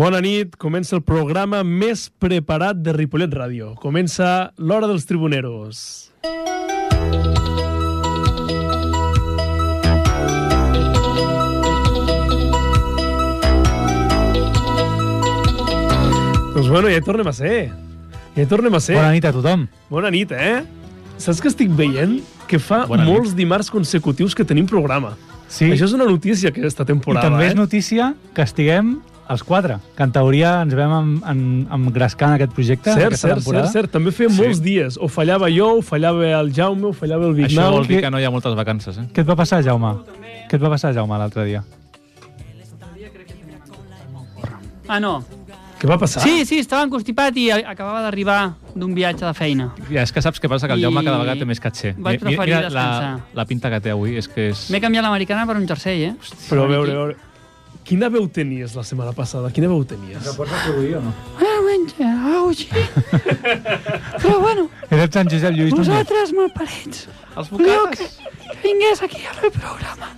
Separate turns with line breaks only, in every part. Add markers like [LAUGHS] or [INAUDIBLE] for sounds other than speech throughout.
Bona nit, comença el programa més preparat de Ripollet Ràdio. Comença l'Hora dels Tribuneros. Doncs bueno, ja hi tornem a ser. Ja hi tornem a ser.
Bona nit a tothom.
Bona nit, eh? Saps que estic veient? Que fa
Bona
Bona
nit.
molts nit. dimarts consecutius que tenim programa.
Sí.
Això és una notícia aquesta
I
temporada,
també
eh?
és notícia que estiguem els quatre, que en teoria ens vam en, en, engrescar en aquest projecte, en
Cert,
aquesta
cert,
temporada.
cert, cert. També feia
Sí.
molts dies. O fallava jo, o fallava el Jaume, o fallava el
Això
Vignau.
vol dir
que-
que no hi ha moltes vacances, eh?
Què et va passar, Jaume? Què et va passar, Jaume, l'altre dia?
Ah, no.
Què va passar?
Sí, sí, estava constipat i a- acabava d'arribar d'un viatge de feina.
Ja, és que saps què passa, que el
I-
Jaume cada vegada té més caché.
Vaig
Mi- mi-
preferir
la,
descansar.
la pinta que té avui, és que és...
M'he canviat l'americana per un jersei, eh?
Però a veure, a veure... Quina veu tenies la setmana passada? Quina veu tenies?
pots reproduir o no?
Diumenge, Ah, eh? au, sí. Però bueno,
És el Sant Josep Lluís Núñez.
vosaltres malparits,
Els
volíeu
bocates!
que, que vingués aquí al meu programa.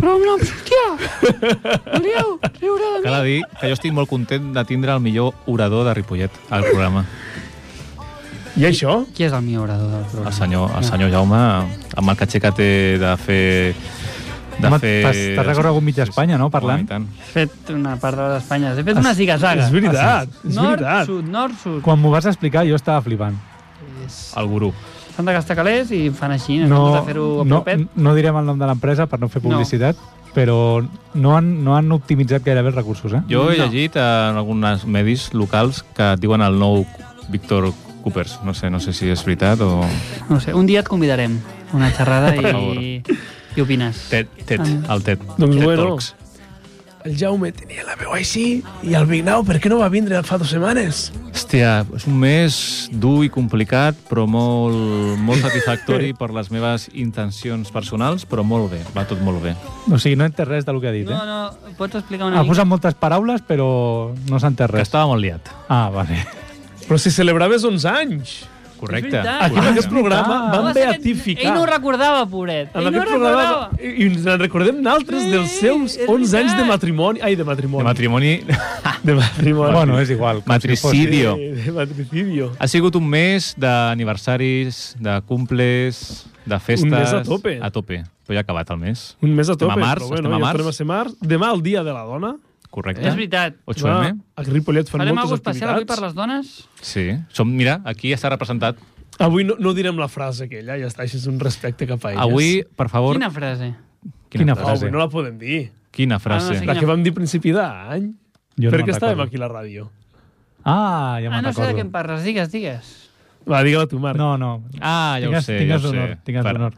Però no em sortia. Volíeu riure de mi?
Cal dir que jo estic molt content de tindre el millor orador de Ripollet al programa.
I això?
Qui és el meu orador del programa?
El senyor, el senyor Jaume, amb el caché que té de fer... De
Home,
fer...
t'has- t'has recorregut mitja Espanya, no, parlant?
Home, i tant.
He fet una part de l'Espanya. He fet una zigazaga.
És veritat, és
Ah, Nord,
veritat.
sud, nord, sud.
Quan m'ho vas explicar jo estava flipant.
El gurú.
S'han de gastar calés i fan així, no,
No,
de fer-ho a
no,
propet.
no direm el nom de l'empresa per no fer
No.
publicitat, però no han, no han optimitzat gairebé els recursos, eh?
Jo he
No.
llegit en alguns medis locals que et diuen el nou Víctor Coopers. No sé, no sé si és veritat o...
No ho sé, un dia et convidarem a una xerrada i, i opines.
Ted, Ted, el Ted.
Doncs
Ted
bueno.
Talks.
El Jaume tenia la veu així i el Vignau per què no va vindre fa dues setmanes?
Hòstia, és un mes dur i complicat, però molt, molt
[LAUGHS]
satisfactori per les meves intencions personals, però molt bé, va tot molt bé.
O sigui, no he entès res del que ha dit,
No,
eh?
no, pots explicar una
Ha
mica?
posat moltes paraules, però no s'ha entès
Que
res.
estava molt liat.
Ah, vale.
Però si celebraves 11 anys!
Correcte.
veritat.
Aquí en aquest
correcte.
programa
Ah.
vam
Home, sí que Ell
beatificar...
no ho recordava, pobret.
en
Ell no ho
aquest programa
recordava.
i i ens en recordem d'altres
Sí,
dels seus
és
11 anys de
veritat.
matrimoni. Ai, de matrimoni. Ah,
De matrimoni
[LAUGHS]
De matrimoni.
Bueno, és igual. com si fos.
Matricidi. vídeo.
De, de matricidio.
ha sigut un mes d'aniversaris, de cumples, de festes...
Un mes a tope.
A tope. Però ja ha acabat el mes.
Un mes a
Estem
tope,
a març,
però bueno,
estem a
ja
març.
tornem a ser març. Demà, el Dia de la Dona,
Correcte.
És veritat.
Ocho eh? M.
a Ripollet fan
Farem alguna
moltes
especial avui per
activitats.
les dones?
Sí. Som, mira, aquí està representat.
Avui no, no direm la frase aquella, ja està, això és un respecte cap a elles.
Avui, per favor...
Quina frase?
Quina
no,
frase?
avui no la podem dir.
Quina
Ah,
frase.
no sé
La
Quina-
que vam dir a principi d'any.
Jo no
per
me'n
què estàvem
recordo.
aquí a la ràdio?
Ah, ja
Ah,
me'n
no sé de
recordo.
què em parles. Digues, digues.
Va, digue-la tu, Marc.
No, no.
Ah, ja
Tingues-
ho sé,
tingues
ja ho sé.
honor, tingues
Per-
honor.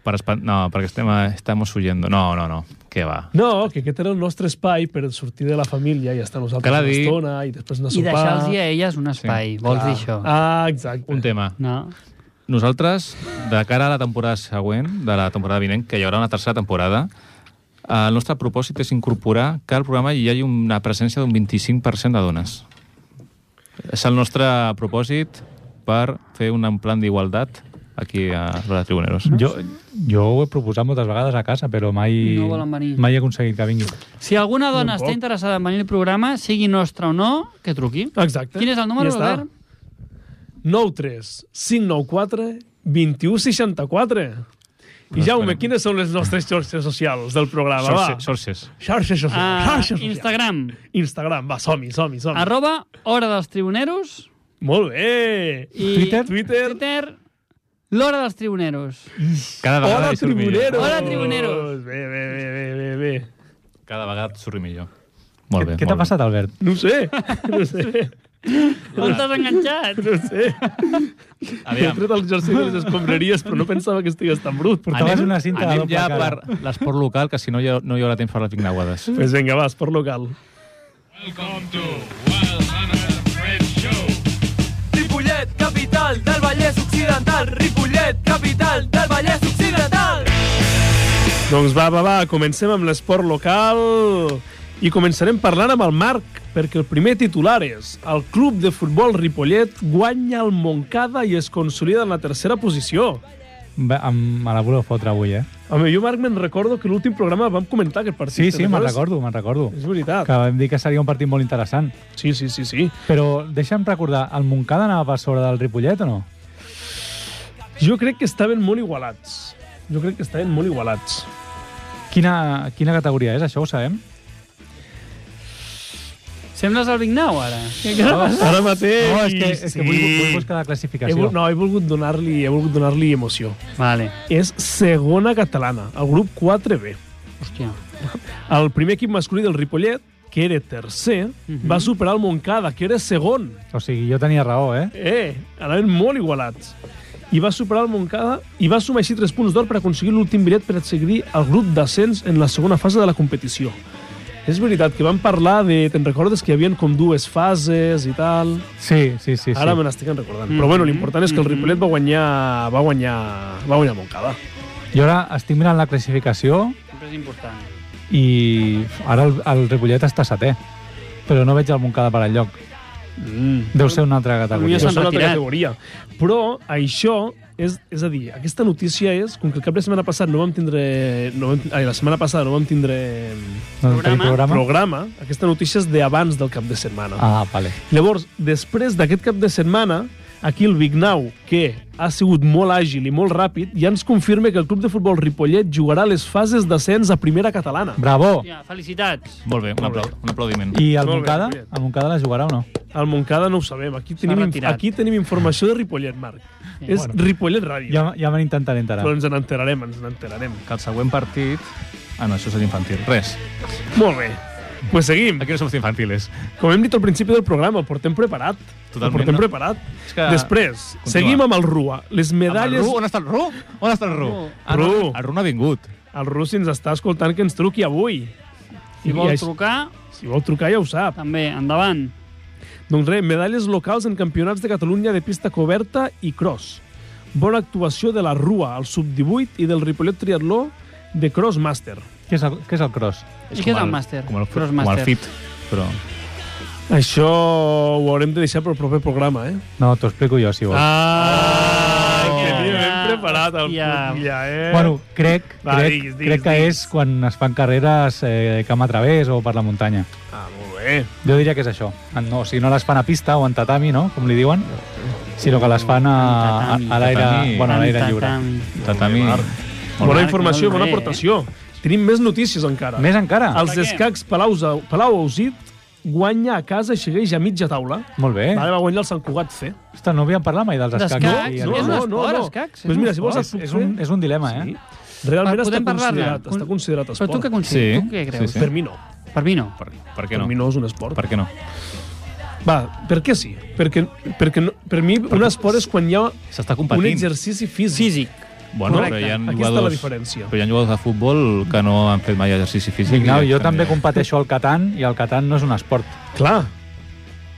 Per espan... No, perquè estem, a... estamos huyendo. No, no, no. Què
Eh.
va?
No, que aquest era el nostre espai per sortir de la família i estar nosaltres
Cal
una
dir-
estona i després anar a
I
sopar.
deixar-los a elles un espai. Vols dir això?
Ah, exacte.
Un tema.
No.
Nosaltres, de cara a la temporada següent, de la temporada vinent, que hi haurà una tercera temporada, eh, el nostre propòsit és incorporar que al programa hi hagi una presència d'un 25% de dones. És el nostre propòsit per fer un plan d'igualtat aquí a Roda Tribuneros.
Jo, jo ho he proposat moltes vegades a casa, però mai,
No volen venir.
mai he aconseguit que vingui.
Si alguna dona està interessada en venir al programa, sigui nostra o no, que truqui.
Exacte.
Quin és el número,
ja està.
Albert?
93 594 2164. I Jaume, quines són les nostres xarxes socials del programa? Va.
Sorces, sorces.
Xarxes socials.
Ah,
xarxes socials.
Instagram,
Instagram, va, som-hi, som-hi, som
arroba Hora dels Tribuneros
Molt bé!
i
Twitter?
Twitter.
Twitter L'Hora dels Tribuneros.
Ah,
Cada vegada
Hola,
hi surt millor.
tribuneros!
Hola, tribuneros.
Bé, bé, bé, bé, bé, bé.
Cada vegada et surt millor. Molt bé,
Què t'ha
molt bé.
passat, Albert?
No ho sé, no ho sé,
On t'has enganxat?
no ho sé. He
Aviam,
tret el jersei de les escombraries, però no pensava que estigués tan brut. Doncs
Portaves una cinta de
anem
doble
ja
cara.
per l'esport local, que si no hi ha, no hi haurà temps per les pignauades.
Doncs pues vinga, vas, per local.
Ripollet, capital del Vallès Occidental. Ripollet, capital del Vallès Occidental.
Doncs va, va, va, comencem amb l'esport local i començarem parlant amb el Marc, perquè el primer titular és el club de futbol Ripollet guanya el Moncada i es consolida en la tercera posició.
Va, em, me la voleu fotre avui, eh?
Home, jo, Marc, me'n recordo que l'últim programa vam comentar aquest partit.
Sí,
te'n
sí, me'n
recordes?
recordo, me'n recordo.
És veritat.
Que vam dir que seria un partit molt interessant.
Sí, sí, sí, sí.
Però deixa'm recordar, el Montcada anava per sobre del Ripollet o no?
Jo crec que estaven molt igualats. Jo crec que estaven molt igualats.
Quina, quina categoria és, això ho sabem?
Sembles el Vignau, ara. Què- què-
Ara mateix...
no, és que, és que vull, vull buscar la
He,
classificació.
vol- no, he volgut donar-li he volgut donar-li emoció.
Vale,
És segona catalana, el grup 4B.
hòstia.
El primer equip masculí del Ripollet, que era tercer,
Mhm.
va superar el Montcada, que era segon.
O sigui, jo tenia raó, eh?
Eh, anaven molt igualats. I va superar el Montcada i va sumar així 3 punts d'or per aconseguir l'últim bitllet per seguir el grup d'ascens en la segona fase de la competició. És veritat que vam parlar de... Te'n recordes que hi havia com dues fases i tal?
Sí, sí, sí. Mm-hmm. sí.
Ara me n'estic en recordant. Però bueno, l'important és que el Ripollet va guanyar... Va guanyar... Va guanyar Montcada.
Jo ara estic mirant la classificació
Sempre és important.
i ara el, el Ripollet està setè. Però no veig el Montcada per enlloc.
Mm.
Deu ser una altra
Avui
categoria.
és
s'han
una altra
retirat.
categoria. Però això, és, és a dir, aquesta notícia és, com que el cap de setmana passat no vam tindre... No vam, ai, la setmana passada no vam tindre
No tenim
Programa.
programa?
programa, aquesta notícia és d'abans del cap de setmana.
Ah, vale.
Llavors, després d'aquest cap de setmana, aquí el Vignau, que ha sigut molt àgil i molt ràpid, ja ens confirma que el club de futbol Ripollet jugarà les fases d'ascens a primera catalana.
Bravo!
Hòstia, felicitats.
Molt bé, un, aplaud, un aplaudiment. I...
I el
Molt bé,
Montcada?
Ripollet.
El Montcada la jugarà o no?
Al Montcada no ho sabem. Aquí tenim, inf-
retirat.
aquí tenim informació de Ripollet, Marc. És
Bueno.
Ripollet Ràdio.
Ja, ja me n'intentaré enterar.
Però ens n'enterarem, ens n'enterarem.
Que el següent partit... Ah, no, això és infantil. Res.
Molt bé. Pues seguim.
Aquí no som infantiles.
Com hem dit al principi del programa, el portem preparat. el
Totalment,
portem
no?
preparat.
És que-
Que... Després,
Continua.
seguim amb el RUA. Les medalles...
Amb el Ru, on està el Ru? On està el Ru?
Ru.
Ah, no,
Ru.
el Ru no ha vingut.
El RU, si ens està escoltant, que ens truqui avui.
Si vols
així-
trucar,
si vol trucar, ja ho sap.
també, endavant.
Doncs res, medalles locals en campionats de Catalunya de pista coberta i cross. Bona actuació de la RUA, al sub-18 i del Ripollet Triatló de Crossmaster.
Què és, el, què és el cross?
I què és
com
el màster?
Com el, com el
Crossmaster.
fit, però...
Això ho haurem de deixar pel proper programa, eh?
No, t'ho explico jo, si vols.
Ah,
Oh.
que tio,
Ja,
ben preparat el
hòstia.
Putilla, eh?
Bueno, crec,
Va,
crec,
diguis, diguis,
crec que
diguis.
és quan es fan carreres eh, camp a través o per la muntanya.
Ah, molt bé.
Jo diria que és això. En- No, o sigui, no les fan a pista o en tatami, no?, com li diuen, sinó que les fan a, a, a l'aire
Tatami.
bueno, a l'aire
Tam,
lliure.
tam, tam.
Tatami... Molt
Bona
bé.
informació,
Molt
bona
bé,
aportació. Tenim més notícies encara.
Més encara?
Els
Per què?
escacs Palau, Palau Ausit guanya a casa i segueix a mitja taula.
Molt
Eh.
bé.
Vale, va guanyar el Sant Cugat C.
Hosta, no havíem parlat mai dels escacs.
D'escacs,
i
no, és
aquests.
un esport, escacs,
Pues
és
mira,
un
si vols
és, és, un, és un dilema, eh?
Sí. Realment
Va,
està
podem parlar-ne.
considerat, està considerat esport.
Però tu què consideres?
Sí,
Tu què creus?
sí, sí.
Per mi no.
Per mi no.
Per, per què
Per
no?
mi no és un esport.
Per què no?
Va, per què sí? Perquè, perquè no, per mi un esport és quan hi ha
S'està
un
competint.
exercici físic.
Físic.
Bueno,
Correcte,
però hi ha
aquí està
jugadors,
la diferència.
Però hi ha jugadors de futbol que no han fet mai exercici físic.
Vignau,
i
jo
estan
també
allà.
competeixo al Catan i el Catan no és un esport.
Clar.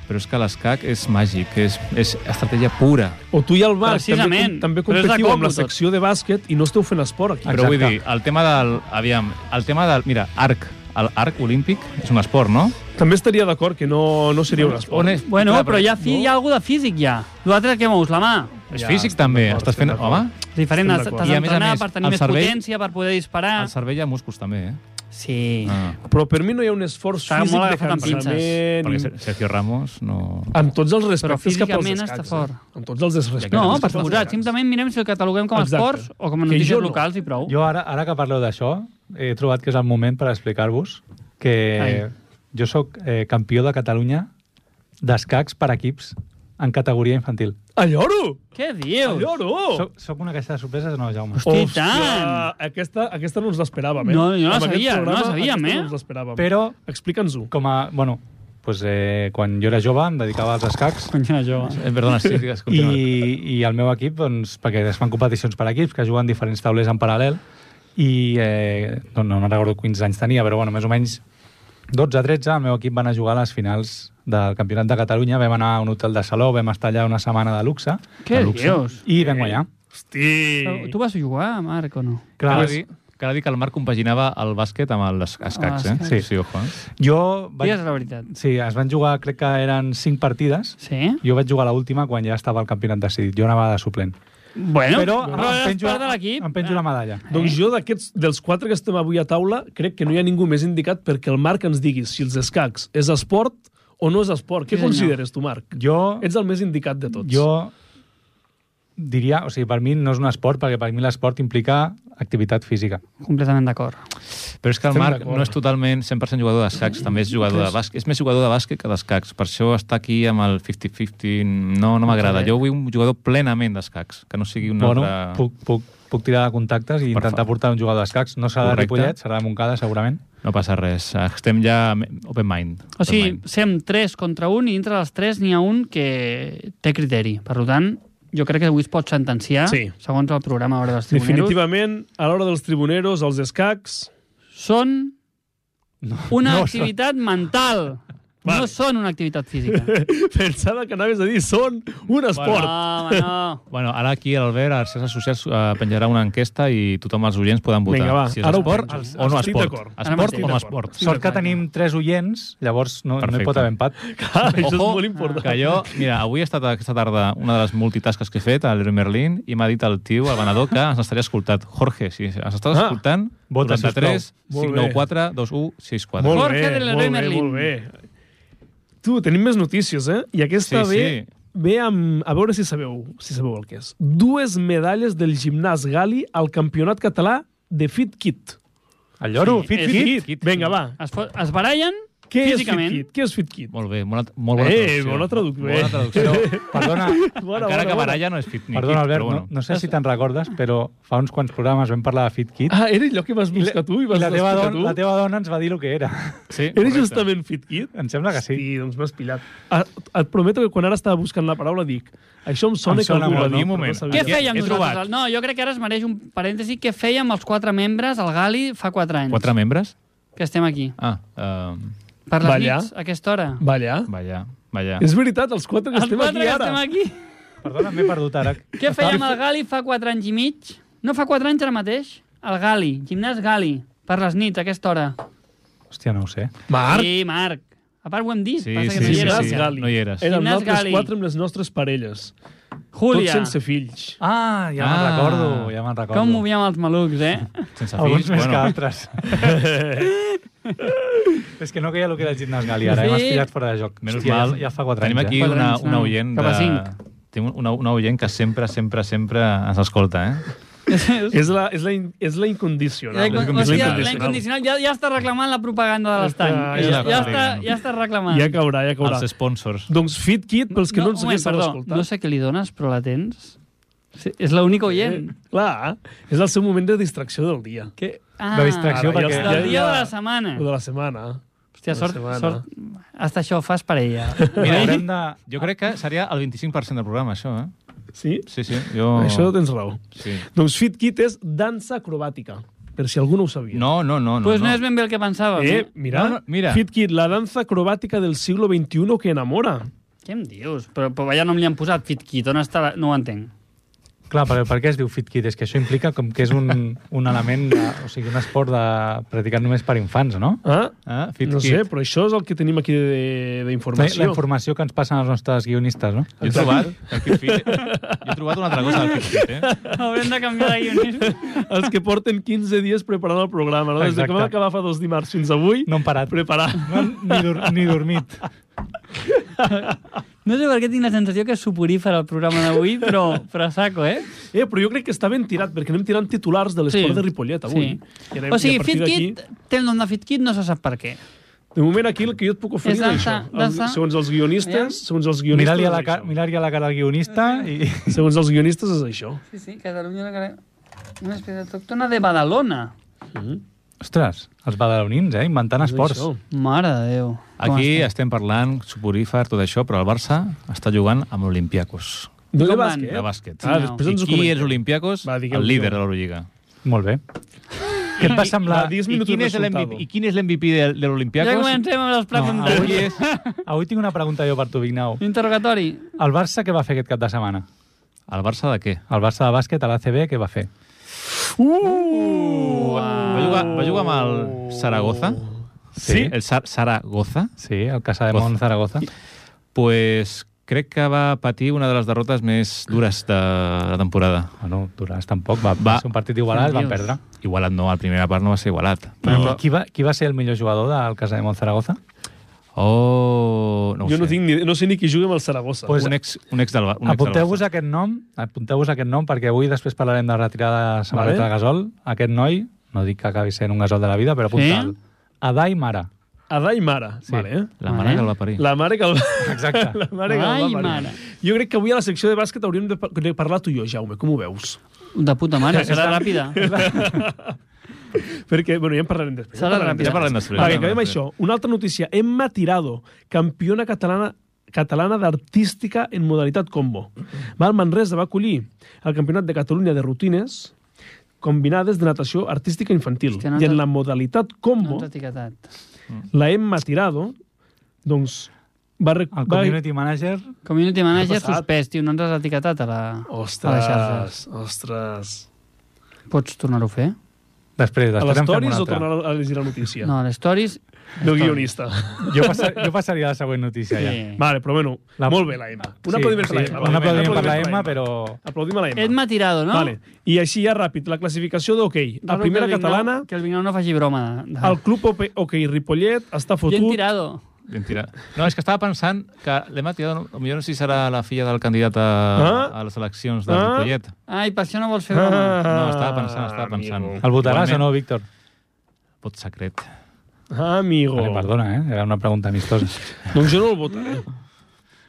Però és que l'escac és màgic, és, és estratègia pura.
O tu i el Marc també,
Precisament.
també
Però és de
competiu amb la
coco, tot.
secció de bàsquet i no esteu fent esport aquí.
Però
Exacte.
vull dir, el tema del... Aviam, el tema del... Mira, arc. L'arc olímpic és un esport, no?
També estaria d'acord que no, no seria un esport.
On és?
Bueno,
Clar,
però hi ha, fi, hi ha alguna de físic, ja. L'altre que mous la mà.
És
Ja,
físic,
estem
també.
d'acord,
Estàs fent...
estem
Home,
d'acord.
És diferent,
Estem
t'has
d'acord.
t'has
I a més a
d'entrenar
més,
per tenir
el
més
cervell-
potència, per poder disparar.
Ah.
al cervell hi ha músculs, també, eh?
Sí.
Ah.
Però per mi no hi ha un esforç
Està
físic
molt
de
agafat amb pinces.
Perquè
cansament...
Ser- Sergio Ramos no...
Amb tots els respectes cap als
físicament
escacs.
està fort.
Eh? Amb tots els respectes.
No,
cap
per
als
suposat.
escacs.
Simplement mirem si el cataloguem com a
Exacte.
esports o com a
Que jo
notícies
no.
locals i prou.
Jo ara, ara que parleu d'això, he trobat que és el moment per explicar-vos que Ai.
Ai.
jo sóc eh, campió de Catalunya d'escacs per equips en categoria infantil.
A lloro!
Què
A
dius?
lloro!
Oh. Soc, soc una caixa de sorpreses, no, Jaume?
Hosti, i tant!
Aquesta, aquesta no ens l'esperàvem, eh?
No, jo no la
Amb aquest
sabia, no la
programa,
sabíem,
aquesta
eh?
No ens l'esperàvem.
Però,
Explica'ns-ho.
com a... Bueno, pues, eh, quan jo era jove em dedicava als escacs
Conya, jo.
Eh, perdona, sí, digues,
i,
continua.
i el meu equip, doncs, perquè es fan competicions per equips, que juguen diferents taulers en paral·lel, i eh, no, no, no recordo quins anys tenia, però bueno, més o menys 12-13 el meu equip van a jugar a les finals del Campionat de Catalunya, vam anar a un hotel de Saló, vam estar allà una setmana de luxe
Què dius?
i vam guanyar.
Hosti!
Però Tu vas jugar, Marc, o no?
Clar,
Cal dir, cal dir que el Marc compaginava el bàsquet amb els escacs, eh?
Ah,
sí.
sí ojo, eh?
jo vaig...
Digues la veritat.
Sí, es van jugar, crec que eren 5 partides,
Sí?
jo vaig jugar l'última quan ja estava el campionat decidit, jo anava de suplent.
Bueno,
Però
però,
em
és
penjo,
part de l'equip.
em penjo la medalla.
Doncs jo, d'aquests, dels quatre que estem avui a taula, crec que no hi ha ningú més indicat perquè el Marc ens digui si els escacs és esport o no és esport. Què
Sí, senyor.
consideres tu, Marc?
Jo,
Ets el més indicat de tots.
jo diria... O sigui, per mi no és un esport, perquè per mi l'esport implica activitat física.
Ah, Completament d'acord.
Però és que el
Estem
Marc
d'acord.
no és totalment 100% jugador d'escacs, també és jugador de bàsquet. És més jugador de bàsquet que d'escacs. Per això està aquí amb el 50-50 no, no m'agrada. Jo vull un jugador plenament d'escacs, que no sigui un
bueno,
altre...
puc, puc, puc tirar de contactes i
Per
intentar
favor.
portar un jugador d'escacs. No serà
Correcte.
de Ripollet, serà de Montcada, segurament.
No passa res. Estem ja open mind.
O sigui,
Open mind.
sem 3 contra 1 i entre les 3 n'hi ha un que té criteri. Per tant, jo crec que avui es pot sentenciar,
Sí.
segons el programa Hora dels Tribuneros,
Definitivament, a l'hora dels tribuneros, els escacs... [LAUGHS]
són una
no,
activitat
[LAUGHS]
mental. No són una activitat física.
Pensava que anaves a dir són un [LAUGHS] esport. Bueno.
No, home, no.
Bueno, ara aquí a l'Albert, a les xarxes socials, eh, penjarà una enquesta i tothom els oients poden votar.
Vinga, va,
si és
ara ho
esport
penjo.
o no
Estic
esport.
d'acord.
Ara
Esport
mateix.
o no
Estic d'acord.
esport.
Sort que
Exacte.
tenim tres oients, llavors no, no hi
Perfecte.
pot haver empat.
Clar, això és
Ojo,
molt important.
Que jo, mira, avui he estat aquesta tarda una de les multitasques que he fet a l'Heroi Merlin i m'ha dit el tio, el venedor, que ens estaria escoltat. Jorge, si ens estàs
Ah.
escoltant,
Vota,
93
sisplau. Molt
594 21 64.
Molt
Jorge
bé,
de l'Heroi
molt
Merlin.
Bé, molt bé. Tu, tenim més notícies, eh? I aquesta
Sí,
ve,
sí.
ve amb... A veure si sabeu, si sabeu el que és. Dues medalles del gimnàs Gali al campionat català de Fit Kit.
El lloro,
Eh, Sí,
sí, fit,
és-
fit.
Kit? Vinga, va.
Es, fo- es barallen
Què
físicament.
és Fit Kit? Què és Fit Kit?
Molt bé, molt, molt bona
Eh,
traducció.
bona traducció.
Bona traducció.
Perdona,
Bona,
Encara que
bona,
baralla no és fit ni
perdona
kit,
Albert,
però bueno.
no, no sé si te'n recordes, però fa uns quants programes vam parlar de Fit Kit
bona. Ah, era allò que vas buscar tu i
i
vas
la teva,
explicar
don,
tu?
la teva dona ens va dir el que era.
Sí,
Era
correcte.
justament Fit Kit?
Em sembla que sí.
I doncs m'has pillat. Ah, et prometo que quan ara estava buscant la paraula dic això em sona,
Em sona
que algú
molt,
va
no?
dir,
Un
però
moment.
no sabia.
Què
He-
fèiem
he
nosaltres?
trobat.
No, jo crec que ara es mereix un parèntesi. Què fèiem els quatre membres al Gali fa quatre anys?
Quatre membres?
Que estem aquí.
Ah, uh,
Per les
Ballar.
nits, a aquesta hora.
Ballar?
vaja, vaja.
És veritat, els quatre que
Els
estem
quatre
aquí
que
ara.
estem aquí.
Perdona, m'he perdut ara.
Què fèiem al Gali fa quatre anys i mig? No fa quatre anys ara mateix? El Gali, gimnàs Gali, per les nits, a aquesta hora.
Hòstia, no ho sé.
Marc,
Sí, Marc. A part ho hem dit.
Sí,
passa que
sí,
no hi
sí,
eres.
Gimnàs
sí.
Gali.
No hi eres.
Érem
Gimnàs
nosaltres
Gali.
quatre amb les nostres parelles.
Júlia,
Tots sense fills.
Ah, ja me'n
Ah.
recordo, ja me'n recordo.
com movíem els malucs, eh? [LAUGHS]
Sense
Alguns
fills,
més que
bueno. [LAUGHS]
altres. És que no queia el que era el gimnàs Gali, ara.
Sí.
M'has pillat fora de joc.
Menys
Hòstia,
mal.
Ja, ja fa quatre
Tenim
anys. eh?
aquí
Quatre
una,
anys,
una
no.
oient
Cap a
de...
cinc.
Tenim una, una oient que sempre, sempre, sempre ens escolta, eh?
És la, és la, in- és la
eh,
incondicional.
La incon-
És
Hòstia,
incondicional.
la incondicional ja, ja està reclamant la propaganda de l'estany.
Ah,
Ja,
ja
ja,
està.
està, ja està reclamant.
Ja caurà, ja caurà.
Els sponsors.
Doncs FitKit, pels que no,
Ah, un
ens
moment,
haguessin
perdó,
escoltat.
No sé què li dones, però la tens? Sí, és l'única oient.
Eh, Clar, és el seu moment de distracció del dia. Què?
Ah,
De distracció,
Ara, ja
perquè...
està.
Del dia de la setmana.
O de la setmana.
Hòstia, sort,
setmana.
sort. Hasta això ho fas per ella.
Mira,
Mira,
haurem de...
jo crec que seria el 25% del programa, això, eh?
Sí?
Sí, sí, jo...
Oh. Això tens raó.
Sí.
Doncs FitKit és dansa acrobàtica, per si algú no ho sabia.
No, no, no.
Doncs
no,
pues no,
no.
és ben bé el que pensàvem.
Eh,
Eh?
mira,
No, no, mira.
FitKit, la danza acrobática del siglo XXI que enamora.
Què em dius? Però, però allà no me li han posat FitKit. On està? La... No ho entenc.
Clar, per, per què es diu Fit Kid? És que això implica com que és un, un element, de, o sigui, un esport de, practicat només per infants, no?
Ah?
Ah, fit
No
kit.
sé, però això és el que tenim aquí de-
La, la
d'informació.
informació que ens passen els nostres guionistes, no?
Jo he trobat, el Fit Fit, jo he trobat una altra
[LAUGHS]
cosa del Fit Fit, eh?
Haurem de canviar de guionista.
[LAUGHS] Els que porten 15 dies preparant el programa, no? Des de que
Exacte.
vam acabar fa dos dimarts fins avui,
No han parat.
preparar.
No, ni, dur, ni
[LAUGHS]
dormit.
No sé per què tinc la sensació que és suporífer el programa d'avui, però, però a saco, eh?
Eh, però jo crec que està ben tirat, perquè anem tirant titulars de l'esport
Sí.
de Ripollet avui. I anem-
o
i
sigui,
a partir
FitKit
d'aquí-
té el nom de FitKit, no se sap per què.
De moment aquí el que jo et puc oferir
És
és, això.
dansa-
Els-
dansa-
segons els guionistes,
Aviam.
segons els guionistes
Mirar-li a,
és
la ca-
això.
mirar-li a la cara al
Ah,
guionista i... [LAUGHS]
Segons els guionistes és això.
Sí, sí, Catalunya... Una espècie autòctona de Badalona.
Ostres, els badalonins, eh? Inventant
És
Mm-hmm. esports.
això.
Mare de Déu. Com
Aquí
estem?
estem parlant, suporífer, tot això, però el Barça està jugant amb l'Olimpiakos,
Doncs de
Com van?
bàsquet.
de bàsquet.
Ah,
No.
després
I
ens ho
qui
comentem.
és l'Olimpiakos?
Va, digueu-ho.
El líder de l'Eurolliga.
Molt
[LAUGHS]
bé. Què et va semblar...
va, digues-
I
minutos
quin és
resultado.
l'MVP? I quin és l'MVP de, de
Ja
l'Olimpiakos?
comencem amb les preguntes.
avui, és... avui tinc una pregunta jo per tu, Vignau.
Interrogatori.
El Barça què va fer aquest cap de setmana?
El Barça de què?
El Barça de bàsquet a l'ACB què va fer?
Uh.
Va jugar, va jugar amb el Saragoza?
Sí.
El Sar Saragoza?
Sí, el Casa de Mont Zaragoza.
Pues crec que va patir una de les derrotes més dures de la temporada.
Bueno, Duràs tampoc. Va, va
Va.
ser un partit igualat, van
Dios.
perdre.
Igualat no, al primera part no va ser igualat.
Però, però... Qui, va, qui va ser el millor jugador del Casa de Monzaragoza?
Oh, no ho
jo no,
sé.
tinc ni, no sé ni qui jugui amb el Saragossa.
Pues- eh.
Un ex, un ex del, Ba- un ex del
Apunteu-vos
Barça.
aquest nom, apunteu-vos aquest nom, perquè avui després parlarem de la retirada de
Vale.
samarreta vale. de Gasol. Aquest noi, no dic que acabi sent un Gasol de la vida, però apunta'l.
Sí?
Sí? Adai Mara.
Adà i mare. Sí. Vale, eh?
La
Vale.
mare que el va parir.
La mare que el va...
Exacte.
La mare que el va
Ai,
parir.
mare.
Jo crec que avui a la secció de bàsquet hauríem de, par- de parlar tu i jo, Jaume, com ho veus?
De puta mare, serà ràpida.
[LAUGHS] Perquè, bueno, ja en parlarem després.
Serà
parlarem
ràpid.
Ja parlem
després.
després.
Va, que acabem això. Una altra notícia. Emma Tirado, campiona catalana catalana d'artística en modalitat combo. Val Manresa va acollir el Campionat de Catalunya de Rutines combinades de natació artística infantil.
Hòstia, no
I en
t'ha-
la modalitat
No
combo,
t'ha etiquetat.
la Emma Tirado, doncs, va... rec-
[LAUGHS] El
va...
community manager...
Community manager
passat?
suspès, tio, no ens has etiquetat a la, a les xarxes.
Ostres, ostres.
Pots tornar-ho a fer?
Després,
A
després
les
en fem
stories
una
o
altra.
tornar a llegir la notícia?
No, a les stories...
No guionista.
Jo, passar, jo passaria a la següent notícia,
Sí.
sí. ja.
Vale, però bueno,
La-
molt bé la Emma. Un aplaudiment per la Emma.
Un
va.
aplaudiment per la
per
Emma, però...
Aplaudim a la Emma.
Edma Tirado, no?
Vale. I així ja ràpid, la classificació d'hoquei. Okay. A
Raro
primera
que el Vignau-
catalana,
Que el Vignau no faci broma. De...
el club hoquei okay, Ripollet està
Bien
fotut.
Tirado.
Ben tirat. No, és que estava pensant que l'Emma Tirado, potser no sé si serà la filla del candidat a,
Ah?
a les eleccions de
Ah?
Ripollet.
Ai, per això no vols fer broma.
Ah,
No, estava pensant, estava pensant.
El votaràs o no, Víctor?
Vot secret.
Amigo.
Vale, perdona, eh? Era una pregunta amistosa.
Doncs jo no el votaré.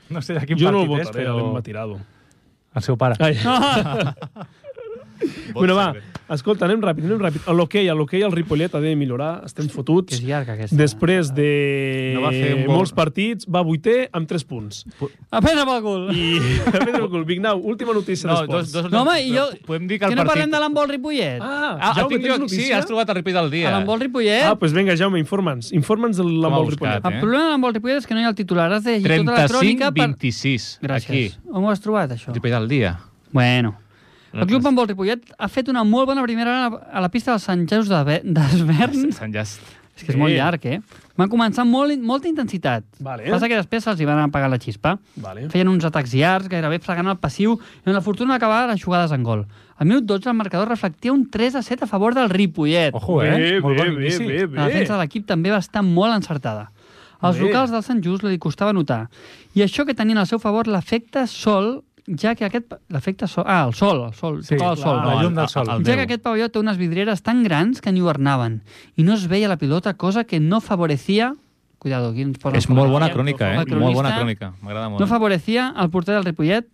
[LAUGHS] No sé de quin
jo no el
partit és,
votaré, però... l'hem
però...
tirado.
El seu pare.
Ai.
[LAUGHS]
Vot
bueno, va,
secret.
eh?
escolta, anem ràpid, anem ràpid. A l'hoquei, a l'hoquei, el Ripollet ha de millorar, estem
Que
fotuts.
és llarga, aquesta.
Després de
No va fer un bon-
molts partits, va vuitè amb 3 punts.
A prendre pel cul.
I Pedro Gol, Vignau, última notícia
No,
d'esports.
dos, dos,
No, home, i jo...
Podem dir que
que
el
no
partit...
parlem de l'handbol Ripollet?
Ah,
Ah,
Jaume,
Jaume,
tens
jo, sí,
notícia?
has trobat el repeat del dia.
A l'handbol Ripollet?
Ah, doncs pues vinga, Jaume, informa'ns. Informa'ns de
Com ha
l'embol
buscat,
Ripollet.
eh?
El problema de l'handbol Ripollet és que no hi ha el titular. Has de llegir tota la crònica per...
25-26.
Gràcies.
Aquí.
On ho has trobat, això?
Repeat del dia.
Bueno.
Mm.
El club handbol Ripollet ha fet una molt bona primera hora a la pista del Sant Jesús de- d'Esvern.
Sant Just.
És que és molt
Sí.
llarg, eh? Van començar amb molt, molta intensitat.
Vale.
Passa que després se'ls hi van apagar la xispa.
Vale.
Feien uns atacs llargs, gairebé fregant el passiu, i amb la fortuna d'acabar les jugades en gol. Al minut 12 el marcador reflectia un 3 a 7 a favor del Ripollet.
Ojo, eh?
Bé,
Molt
bé,
bon
bé,
inici.
bé,
La defensa de
bé.
l'equip també va estar molt encertada. Als
Bé.
locals del Sant Just li costava notar. I això que tenien al seu favor l'efecte sol, ja que aquest... L'efecte sol... Ah, el sol, el sol.
Sí,
Sí, el sol.
clar, la llum del sol.
El, el,
Ja que
el
aquest pavelló té unes vidrieres tan grans que ni hivernaven i no es veia la pilota, cosa que no favorecia... Cuidado, aquí ens posen...
és molt bona
El
crònica, eh?
cronista-
Molt bona crònica. M'agrada molt.
No favorecia el porter del Ripollet,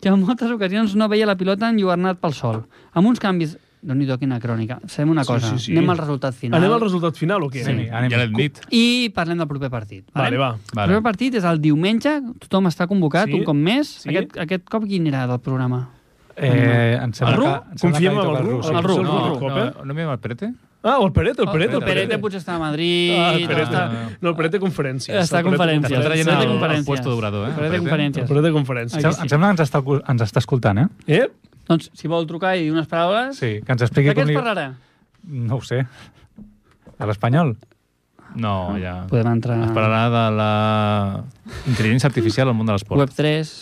que en moltes ocasions no veia la pilota enlluernat pel sol. Amb uns canvis... Déu-n'hi-do, quina crònica. Fem una
Sí,
cosa.
sí, sí.
Anem al resultat final.
Anem al resultat final o què?
Sí. Anem.
Ja l'hem dit.
I parlem del proper partit.
Vale, va.
El
Vale.
primer partit és el diumenge, tothom està convocat
Sí.
un cop més.
Sí.
Aquest, aquest cop quin era del programa?
Eh, em sembla
El Ru?
que- em sembla
Confiem
que li
en el
toca
Ru?
sí.
El Ru.
No, no,
cop, eh?
no, no m'hi el Prete?
Ah, o el Perete, el Perete.
el Perete potser està a Madrid.
Ah, el
no
Perete.
està...
No, el Perete conferències.
Està
El Perete
conferències.
Està traient
Prete
el, el
conferències.
puesto d'obrador, eh?
Prete
Prete.
conferències.
El Perete
Em
conferències.
sembla- Em sembla que ens està, escu- ens està escoltant, eh?
Eh?
Doncs, si vol trucar i dir unes paraules...
Sí, que ens expliqui
De què
com
ens
li...
parlarà?
No ho sé. De l'espanyol?
No, ja.
Ah, Podem entrar
Es
a
parlarà de la intel·ligència artificial al món de l'esport.
Web3.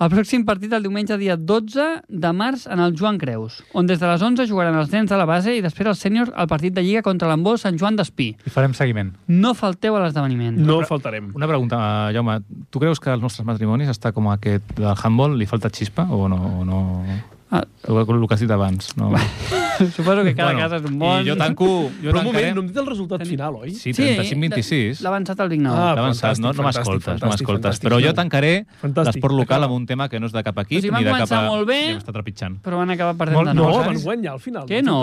El pròxim partit el diumenge dia 12 de març en el Joan Creus, on des de les 11 jugaran els nens de la base i després els sèniors al partit de Lliga contra l'embol Sant Joan d'Espí.
I farem seguiment.
No falteu a l'esdeveniment.
No faltarem.
Una pregunta, eh, Jaume. Tu creus que als nostres matrimonis està com aquest del handball, li falta xispa o no? O no?
Ah.
El que has dit abans. No?
[LAUGHS] Suposo que cada casa és un món.
I jo tanco... Jo
Però un
tancaré...
moment, no hem dit el resultat final, oi?
Sí,
Sí,
35-26.
L'ha avançat el Vignau.
Ah,
Ah,
T'ha avançat,
fantàstic,
no, no
fantàstic,
m'escoltes, no
fantàstic,
m'escoltes.
fantàstic,
Però jo
Jaume.
tancaré
Fantàstic,
l'esport local
acaba.
amb un tema que no és de cap
O
equip
sigui, van
ni de cap
començar
a...
molt bé.
Ja m'està trepitjant.
però van acabar perdent
Molt-
de
No,
nou.
Molts
van
anys.
guanyar al final.
Què no?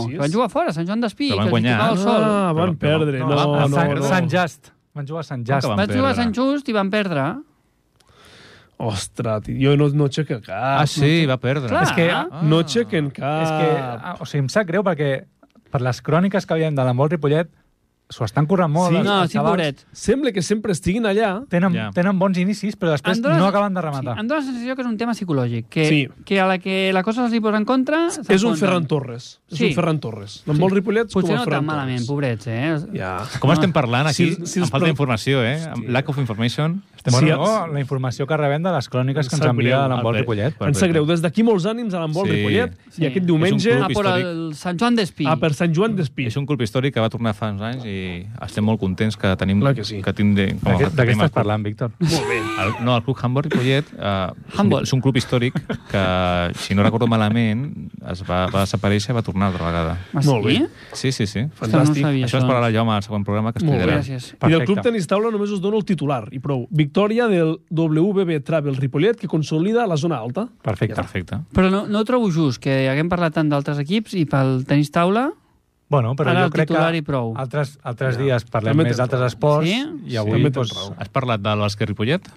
25-26.
Que van jugar fora, a Sant Joan d'Espí, que
Però van
els hi
guanyar.
tocava el sol.
Ah, van
Però-
perdre. No, no,
a
no.
Sant, Sant Just. Van jugar a Sant Just.
Acabar.
Vaig jugar a
perdre.
Sant Just i van perdre.
Ostres, tio, jo no, no aixequen
Ah,
cap.
sí, va perdre.
Clar.
És que,
Ah.
No aixequen cap. Ah.
ah, és que ah, o sigui, em sap greu perquè per les cròniques que havíem de l'Embol Ripollet s'ho estan currant molt.
Sí.
els-
No,
els
Ah, sí,
xavals
pobret.
Sembla que sempre estiguin allà.
Tenen,
Ja.
tenen bons inicis, però després
Em dóna-
no acaben de rematar.
Sí, em dóna la sensació que és un tema psicològic, que,
Sí.
que a la que la cosa se'ls hi posa en contra...
És un
s'enfonsen.
Ferran Torres. És
Sí.
un Ferran Torres. Amb molts ripollets com
Potser
el
no
Ferran
tan malament,
Torres.
pobrets, eh?
Ja.
Com estem parlant aquí?
Si- si
em
us
falta
pre-
informació, eh? Amb Lack of information.
Bueno,
Sí,
no, la informació que rebem de les cròniques que
Em
ens
sap
envia
greu,
l'Envol
Albert.
Ripollet.
Ens sap greu. Des d'aquí molts ànims a l'embol
Sí.
sí. Ripollet
Sí.
i aquest
És
diumenge
un
Ah,
club
però
històric.
el Sant Joan d'Espí.
Ah,
a per Sant Joan d'Espí.
És un club històric que va tornar fa uns anys i estem molt contents que tenim...
Clar que sí.
Que tindre,
De què- De què estàs
tenim el club.
parlant, Víctor?
Molt bé.
El, no, el club Hamburg Ripollet eh, és un-
Humboldt.
és un club històric que, si no recordo malament, es va, va desaparèixer i va tornar altra vegada.
Ah, sí?
Molt bé.
Sí, sí, sí.
Fantàstic.
No sabia
Això es parlarà jo al següent programa que
doncs- Molt
explicarà.
Gràcies.
I del
Perfecte.
Club Tenis Taula només us dono el titular i prou. Victòria del WBB Travel Ripollet que consolida la zona alta.
Perfecte.
Perfecte.
Però no, no trobo just que haguem parlat tant d'altres equips i pel tenis taula...
Bueno, però
Ara
jo
el
crec
titular i
que
prou.
altres, altres dies parlem
També
més
tens
d'altres
raó.
esports
Sí?
i avui
també tens
doncs,
raó.
Has parlat de l'Bàsquet Ripollet?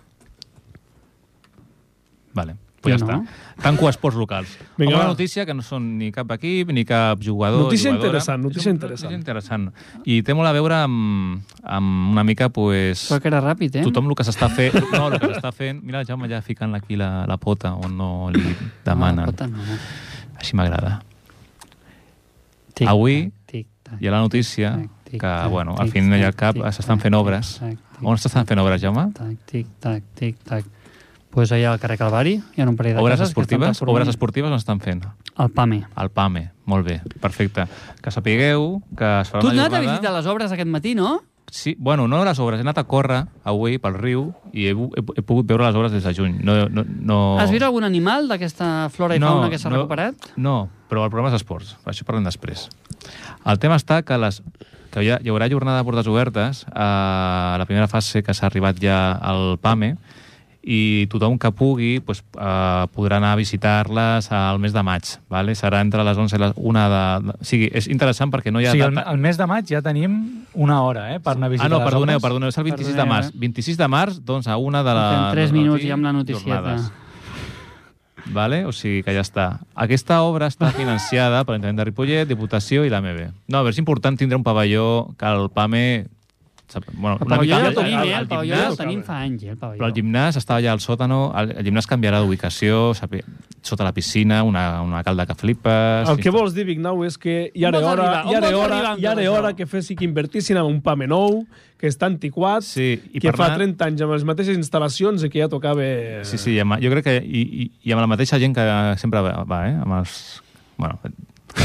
Vale, pues ja
Jo
no.
no.
està. Tanco esports locals.
Vinga,
Vinga, Una
va.
notícia que no són ni cap equip, ni cap jugador,
Notícia
jugadora.
interessant, notícia
És un-
interessant.
Notícia interessant. I té molt a veure amb, amb una mica, pues,
Però que era ràpid, eh?
tothom el que s'està fent... No, el que s'està fent... Mira, el Jaume ja ficant aquí la, la pota on no li
Ah,
demanen.
pot anar.
Així m'agrada.
Tic,
Avui
Tic, tac,
Hi ha la notícia
Tic, tic,
que,
tac,
bueno, al
tic,
fin i al
tac,
cap
tic,
s'estan
tac,
fent
tic,
obres.
tac, tic,
On s'estan fent obres, Jaume?
tac, tic, tac, tic, tac. Pues allà al carrer Calvari hi ha un parell de
Obres
cases que estan
esportives?
transformant
Obres esportives on estan fent?
El PAME.
Al PAME, molt bé, perfecte. Que sapigueu que es farà
Tu has
una
anat a
jornada...
visitar les obres aquest matí, no?
Sí, bueno, no les obres, he anat a córrer avui pel riu i he, he, he pogut veure les obres des de juny. No, no, no...
Has vist algun animal d'aquesta flora i
No,
fauna que s'ha
no.
recuperat?
No, però el programa és esports, això parlem després. El tema està que, les, que hi, ha, hi haurà jornada de portes obertes a la primera fase que s'ha arribat ja al PAME E, i tothom que pugui pues, eh, podrà anar a visitar-les al mes de maig. Vale? Serà entre les 11 i les 1 de... de... O sigui, és interessant perquè no
O
hi ha
sigui, el,
data...
el mes de maig ja tenim una hora eh, per anar a
Ah,
visitar
no,
les
perdoneu,
obres.
perdoneu, és el 26 de
Perdoneu,
març.
eh?
26 de març, doncs, a una de la...
Fem 3
del
minuts
matí,
i amb la noticieta.
jornades. Vale? O sigui que ja està. Aquesta obra està financiada per l'Ajuntament de Ripollet, Diputació i l'AMB. No, però és important tindre un pavelló que el PAME... sap- Bueno,
El pavelló ja el tenim,
el,
eh? El pavelló ja
gimnàs,
el tenim fa anys, eh? El
però el
pavelló.
gimnàs està allà al sòtano, el, el gimnàs canviarà d'ubicació, sapi- sota la piscina, una, una calda que flipes...
El que vols dir, Vignau, és que hi ha
On vols
hora,
arribar? On
hi ha
vols
hora,
arribar amb
hi ha
tot això?
hora que fes i que invertissin en un PAME nou, que està antiquat,
Sí, i
que
parlant-
fa 30 anys amb les mateixes instal·lacions i que ja tocava...
Sí, sí, i amb, jo crec que i, i, i amb la mateixa gent que sempre va, va eh? Amb els... Bueno,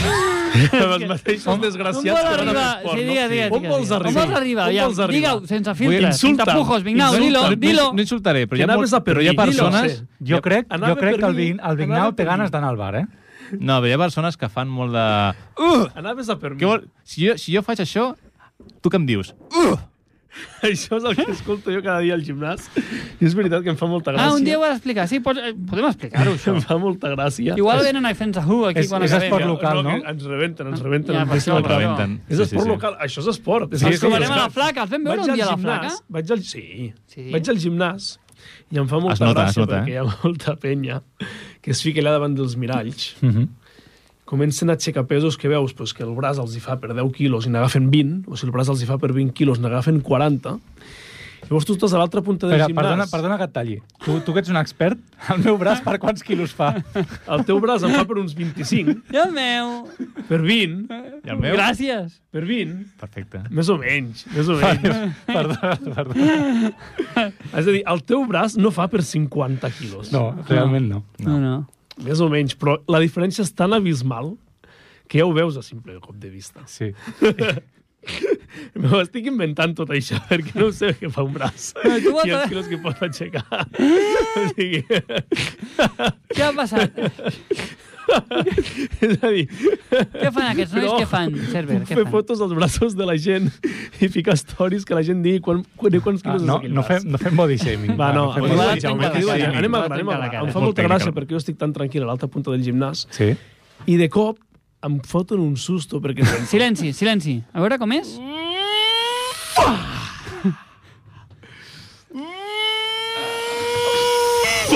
amb els mateixos desgraciats que van a fer esport,
Sí,
no?
digue, digue,
On
digue,
vols
digue.
arribar?
On vols arribar?
On
Ja,
vols arribar?
Digue-ho, sense filtres, sense
insulta'm.
tapujos. Vignau, dilo,
Insulta'm.
dilo.
No, no insultaré, però
Que
hi ha,
anaves
molt,
a per
però hi ha
mi, dilo,
persones...
sí.
Jo crec, jo
Anava
crec
per
que el,
mi,
Vin, el
anava
Vignau té
per mi.
ganes d'anar al bar, eh?
No, però hi ha persones que fan molt de...
Anaves a per mi.
Què vol... si, jo, si jo faig això, tu què em dius?
Això és el que escolto jo cada dia al gimnàs. I és veritat que em fa molta gràcia.
Ah, un dia ho has d'explicar. Sí, pots, eh, podem explicar-ho, això.
Em fa molta gràcia. [LAUGHS]
Igual venen a Fensa Who aquí
és-
quan
és
acabem.
esport local, no?
que Ens rebenten, ens rebenten.
Ja,
ens
per això,
deixen
per
acabar.
això.
Rebenten.
És
Sí,
esport
sí, sí.
local, això és esport. És
Sí,
el
sí,
que
trobarem
és.
a la flaca, els vam veure
Vaig
un
al
dia a la
gimnàs,
flaca?
Vaig al... Sí.
Sí?
Vaig al gimnàs i em fa molta
Es nota, es
gràcia
nota,
perquè
eh?
hi ha molta penya que es fica allà davant dels miralls.
Uh
Mhm.
-huh.
Comencen a aixecar pesos que veus pues, que el braç els hi fa per 10 quilos i n'agafen 20, o si el braç els hi fa per 20 quilos n'agafen 40. Llavors tu estàs a l'altra punta del
Espera,
gimnàs.
perdona, perdona que et talli. Tu, tu que ets un expert, el meu braç per quants quilos [LAUGHS] fa?
El teu braç em fa per uns 25,
I el meu.
per 20,
I el meu?
Gràcies.
per 20,
Perfecte.
Més o menys, més o menys.
perdona, perdona.
És a dir, el teu braç no fa per 50 quilos.
No, realment no.
No, no.
Més o menys, però la diferència és tan abismal que ja ho veus a simple cop de vista. [LAUGHS]
Sí.
M'ho estic inventant tot això, [LAUGHS] perquè no sé què fa un braç.
Però Ah, tu vas
I els
a-
quilos que pot
[LAUGHS]
aixecar. o sigui,
Què ha passat?
és a dir,
Què fan aquests nois?
No.
Què fan, Cerver?
puc
Què
fer
fan?
fotos als braços de la gent i ficar stories que la gent digui quan, quan, quants
Ah,
quilos
no,
és aquell
no,
braç.
fem, no fem body shaming.
Va, no,
fem
em
Ho
body
diu
va
la
shaming.
gent,
tancar la cara.
anem a
Ho va
anem a
tancar la cara.
Em fa
Molt
molta gràcia
tècnica.
perquè jo estic tan tranquil a l'altra punta del gimnàs
Sí.
i de cop em foten un susto perquè penso,
Silenci, silenci. A veure com és.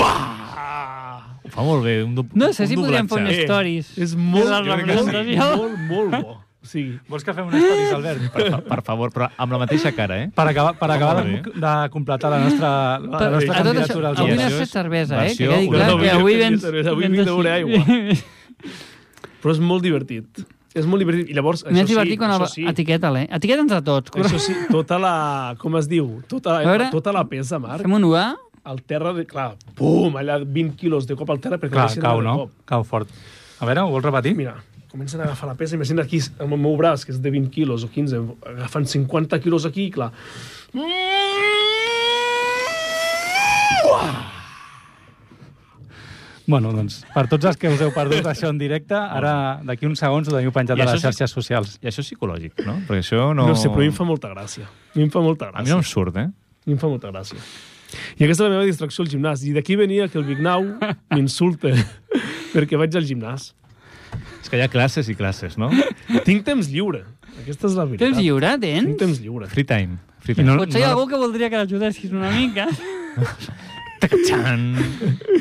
"Ah,
Ho fa molt bé. Un, do-
No sé si
un
podríem fer
doblatge.
unes stories.
Eh, és molt,
És la
jo crec que
representació.
molt, molt bo. O sigui,
Vols que fem una història, Albert?
Per, fa- per favor, però amb la mateixa cara, eh?
Per acabar, per acabar
Molt
de,
bé.
de completar la nostra, la
Ah,
nostra
Per- a tot això,
candidatura als
avui
Oscars.
n'has
Oscars.
fet cervesa, eh? Que
Versió-
quedi
No,
clar
no,
avui
que avui
he fet
vens...
cervesa, avui
vens
vinc a beure
així. [LAUGHS]
però és molt divertit. És molt divertit. I llavors,
Més
això
divertit
sí,
quan el...
això sí,
Etiqueta-la, eh? Etiqueta'ns a tots.
això sí, tota la... Com es diu? Tota,
A veure-
tota la pesa, Marc.
Fem un UA?
Al terra, de, clar, pum, allà 20 quilos de cop al terra perquè
Clar,
deixin
cau,
de
no?
cop.
Cau fort. A veure, ho vols repetir?
Mira, comencen a agafar la pesa, imagina aquí amb el meu braç, que és de 20 quilos o 15, agafen 50 quilos aquí, i clar.
Bueno, doncs, per tots els que us heu
[LAUGHS]
perdut això en directe, ara d'aquí uns segons ho teniu penjat
I
a les
això sí-
xarxes socials.
I això és psicològic, no? Perquè això
No,
no...
no sé, però a mi em fa molta gràcia. A mi em fa molta gràcia.
A mi no em surt, eh?
A mi em fa molta gràcia. I aquesta és la meva distracció al gimnàs. I d'aquí venia que el Vignau m'insulta perquè vaig al gimnàs.
És que hi ha classes i classes, no?
Tinc temps lliure. Aquesta és la veritat.
Tens lliure, tens?
Tinc temps lliure.
Free time. Free
I
time.
no-
Potser hi ha algú que voldria que l'ajudessis una mica. [LAUGHS]
Txan!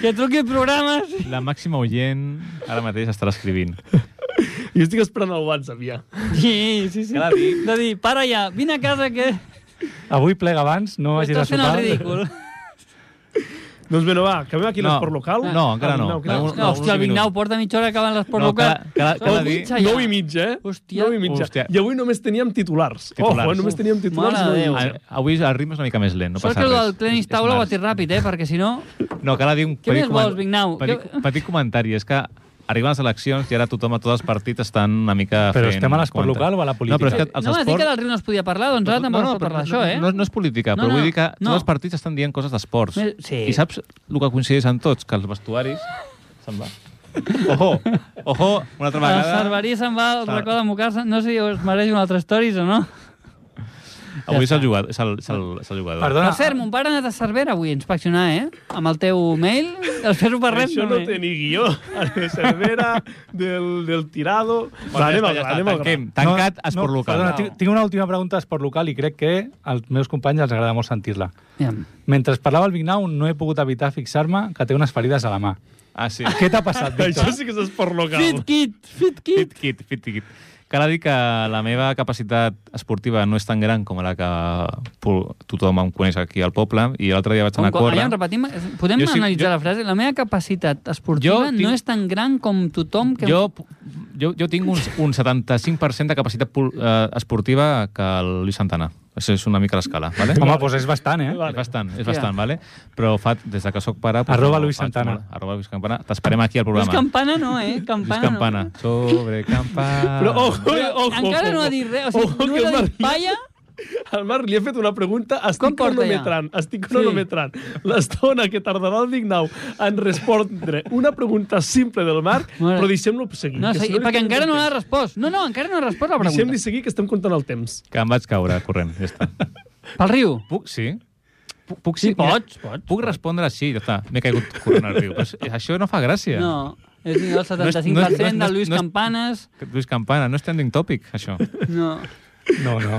que truqui programes.
La màxima oient ara mateix estarà escrivint.
Jo estic esperant el WhatsApp ja.
Sí, sí, sí. De dir, para ja, vine a casa que
Avui plega abans, no vagis a
estàs fent el
sopar.
ridícul.
Doncs bé, no va, acabem aquí l'esport local.
No, encara
El
no.
Vignau, què tal?
Un-
No, hòstia,
uns
el Vignau
minuts.
porta mitja hora acabant l'esport
No,
local.
cada- cada- cada
Oh,
dia-
mitja ja.
9 i mitja, eh?
Hòstia.
9 i mitja.
Hòstia.
I avui només teníem titulars.
Titulars.
Titulars. Oh, només teníem titulars.
Mare
no eh?
de
hi
Déu.
havia.
A- Avui el ritme és una mica més lent, no
Sort
passa
que
res.
el Clenis
És- és
Taula ho
març.
va dir ràpid, eh? Perquè si no...
No, cal dir un
Què més
comen-
vols, Vignau?
Petit,
Què-
petit comentari, és que arriben les eleccions i ara tothom a tots els partits estan una mica
Però
fent...
estem a l'esport
comentaris.
local o a la política?
No, però és que els
no vas dir que
esports...
del riu no es podia parlar, doncs ara tampoc es pot parlar d'això, eh?
No, no és política,
No,
no, però
no,
vull dir que
no.
tots els partits estan dient coses d'esports.
Més- sí.
I saps el que coincideix en tots? Que els vestuaris... Se'n va. Ojo, ojo, una altra
El
vegada.
Cerverí se'n va al
Ah.
racó de mocar-se. No sé si es mereix un altre stories o no.
Avui és el jugador. És el, és el, és el jugador.
Perdona,
Per cert, mon pare ha anat a Cervera avui a inspeccionar, eh? Amb el teu mail. [LAUGHS] Després ho parlem.
Això no
també.
té ni guió. De Cervera, del, del tirado...
Bueno,
Va, anem
ja
al gra,
està, ja
anem
està,
al gra.
tanquem. Tancat,
no,
esport
no,
local.
Perdona, tinc, tinc una última pregunta d'esport local i crec que als meus companys els agrada molt sentir-la.
Aviam.
Mentre parlava el Vignau, no he pogut evitar fixar-me que té unes ferides a la mà.
Ah, sí.
Què t'ha
[LAUGHS]
passat,
Això
Víctor?
sí que és esport
Fit
local.
kit, fit kit.
Fit kit, fit kit. Cal dir que la meva capacitat esportiva no és tan gran com la que pu- tothom em coneix aquí al poble i l'altre dia vaig
Com,
anar a
com, allà
córrer.
em repetim, podem
Jo sí-
analitzar
jo-
la frase? La meva capacitat esportiva
Jo
no
tinc-
és tan gran com tothom que...
Jo, jo, jo tinc un, un 75% de capacitat pul- eh, esportiva que el Lluís Santana. Això és una mica l'escala, vale?
Home, doncs és bastant, eh?
És bastant, és
Hòstia.
bastant, vale? Però fa, des de que sóc pare... doncs,
Arroba
no,
Luis
faig
Santana.
molt. Arroba Luis Campana. T'esperem aquí al
Lluís
programa.
Campana no, eh?
Lluís
Campana,
Campana.
No.
Sobre
[LAUGHS]
campana.
Però,
oh!
ojo,
Però
ojo, ojo.
encara no ha dit res. O sigui,
Ojo, que
només ha
el
dit
Marc-
palla...
El Marc li ha fet una pregunta,
Com
estic
porta ja?
cronometrant, estic cronometrant l'estona que tardarà el Dignau en respondre una pregunta simple del Marc,
Mare.
però deixem-lo seguir.
No,
que
sí,
si no li
perquè
tenim
encara no l'ha
temps.
respost. No, no, encara no ha respost la
Deixem-li
pregunta.
seguir, que estem comptant el temps.
Que em vaig caure corrent, ja està.
Pel riu.
Puc, sí? Puc, puc
Sí,
mira,
pots, pots.
Puc respondre així, ja està. M'he caigut corrent al riu. Però és- això no fa gràcia.
No, és millor el
No és-
75%
no és- no és-
del Lluís
no és-
Campanes.
Lluís Campana, no és trending topic, això.
No.
No, no.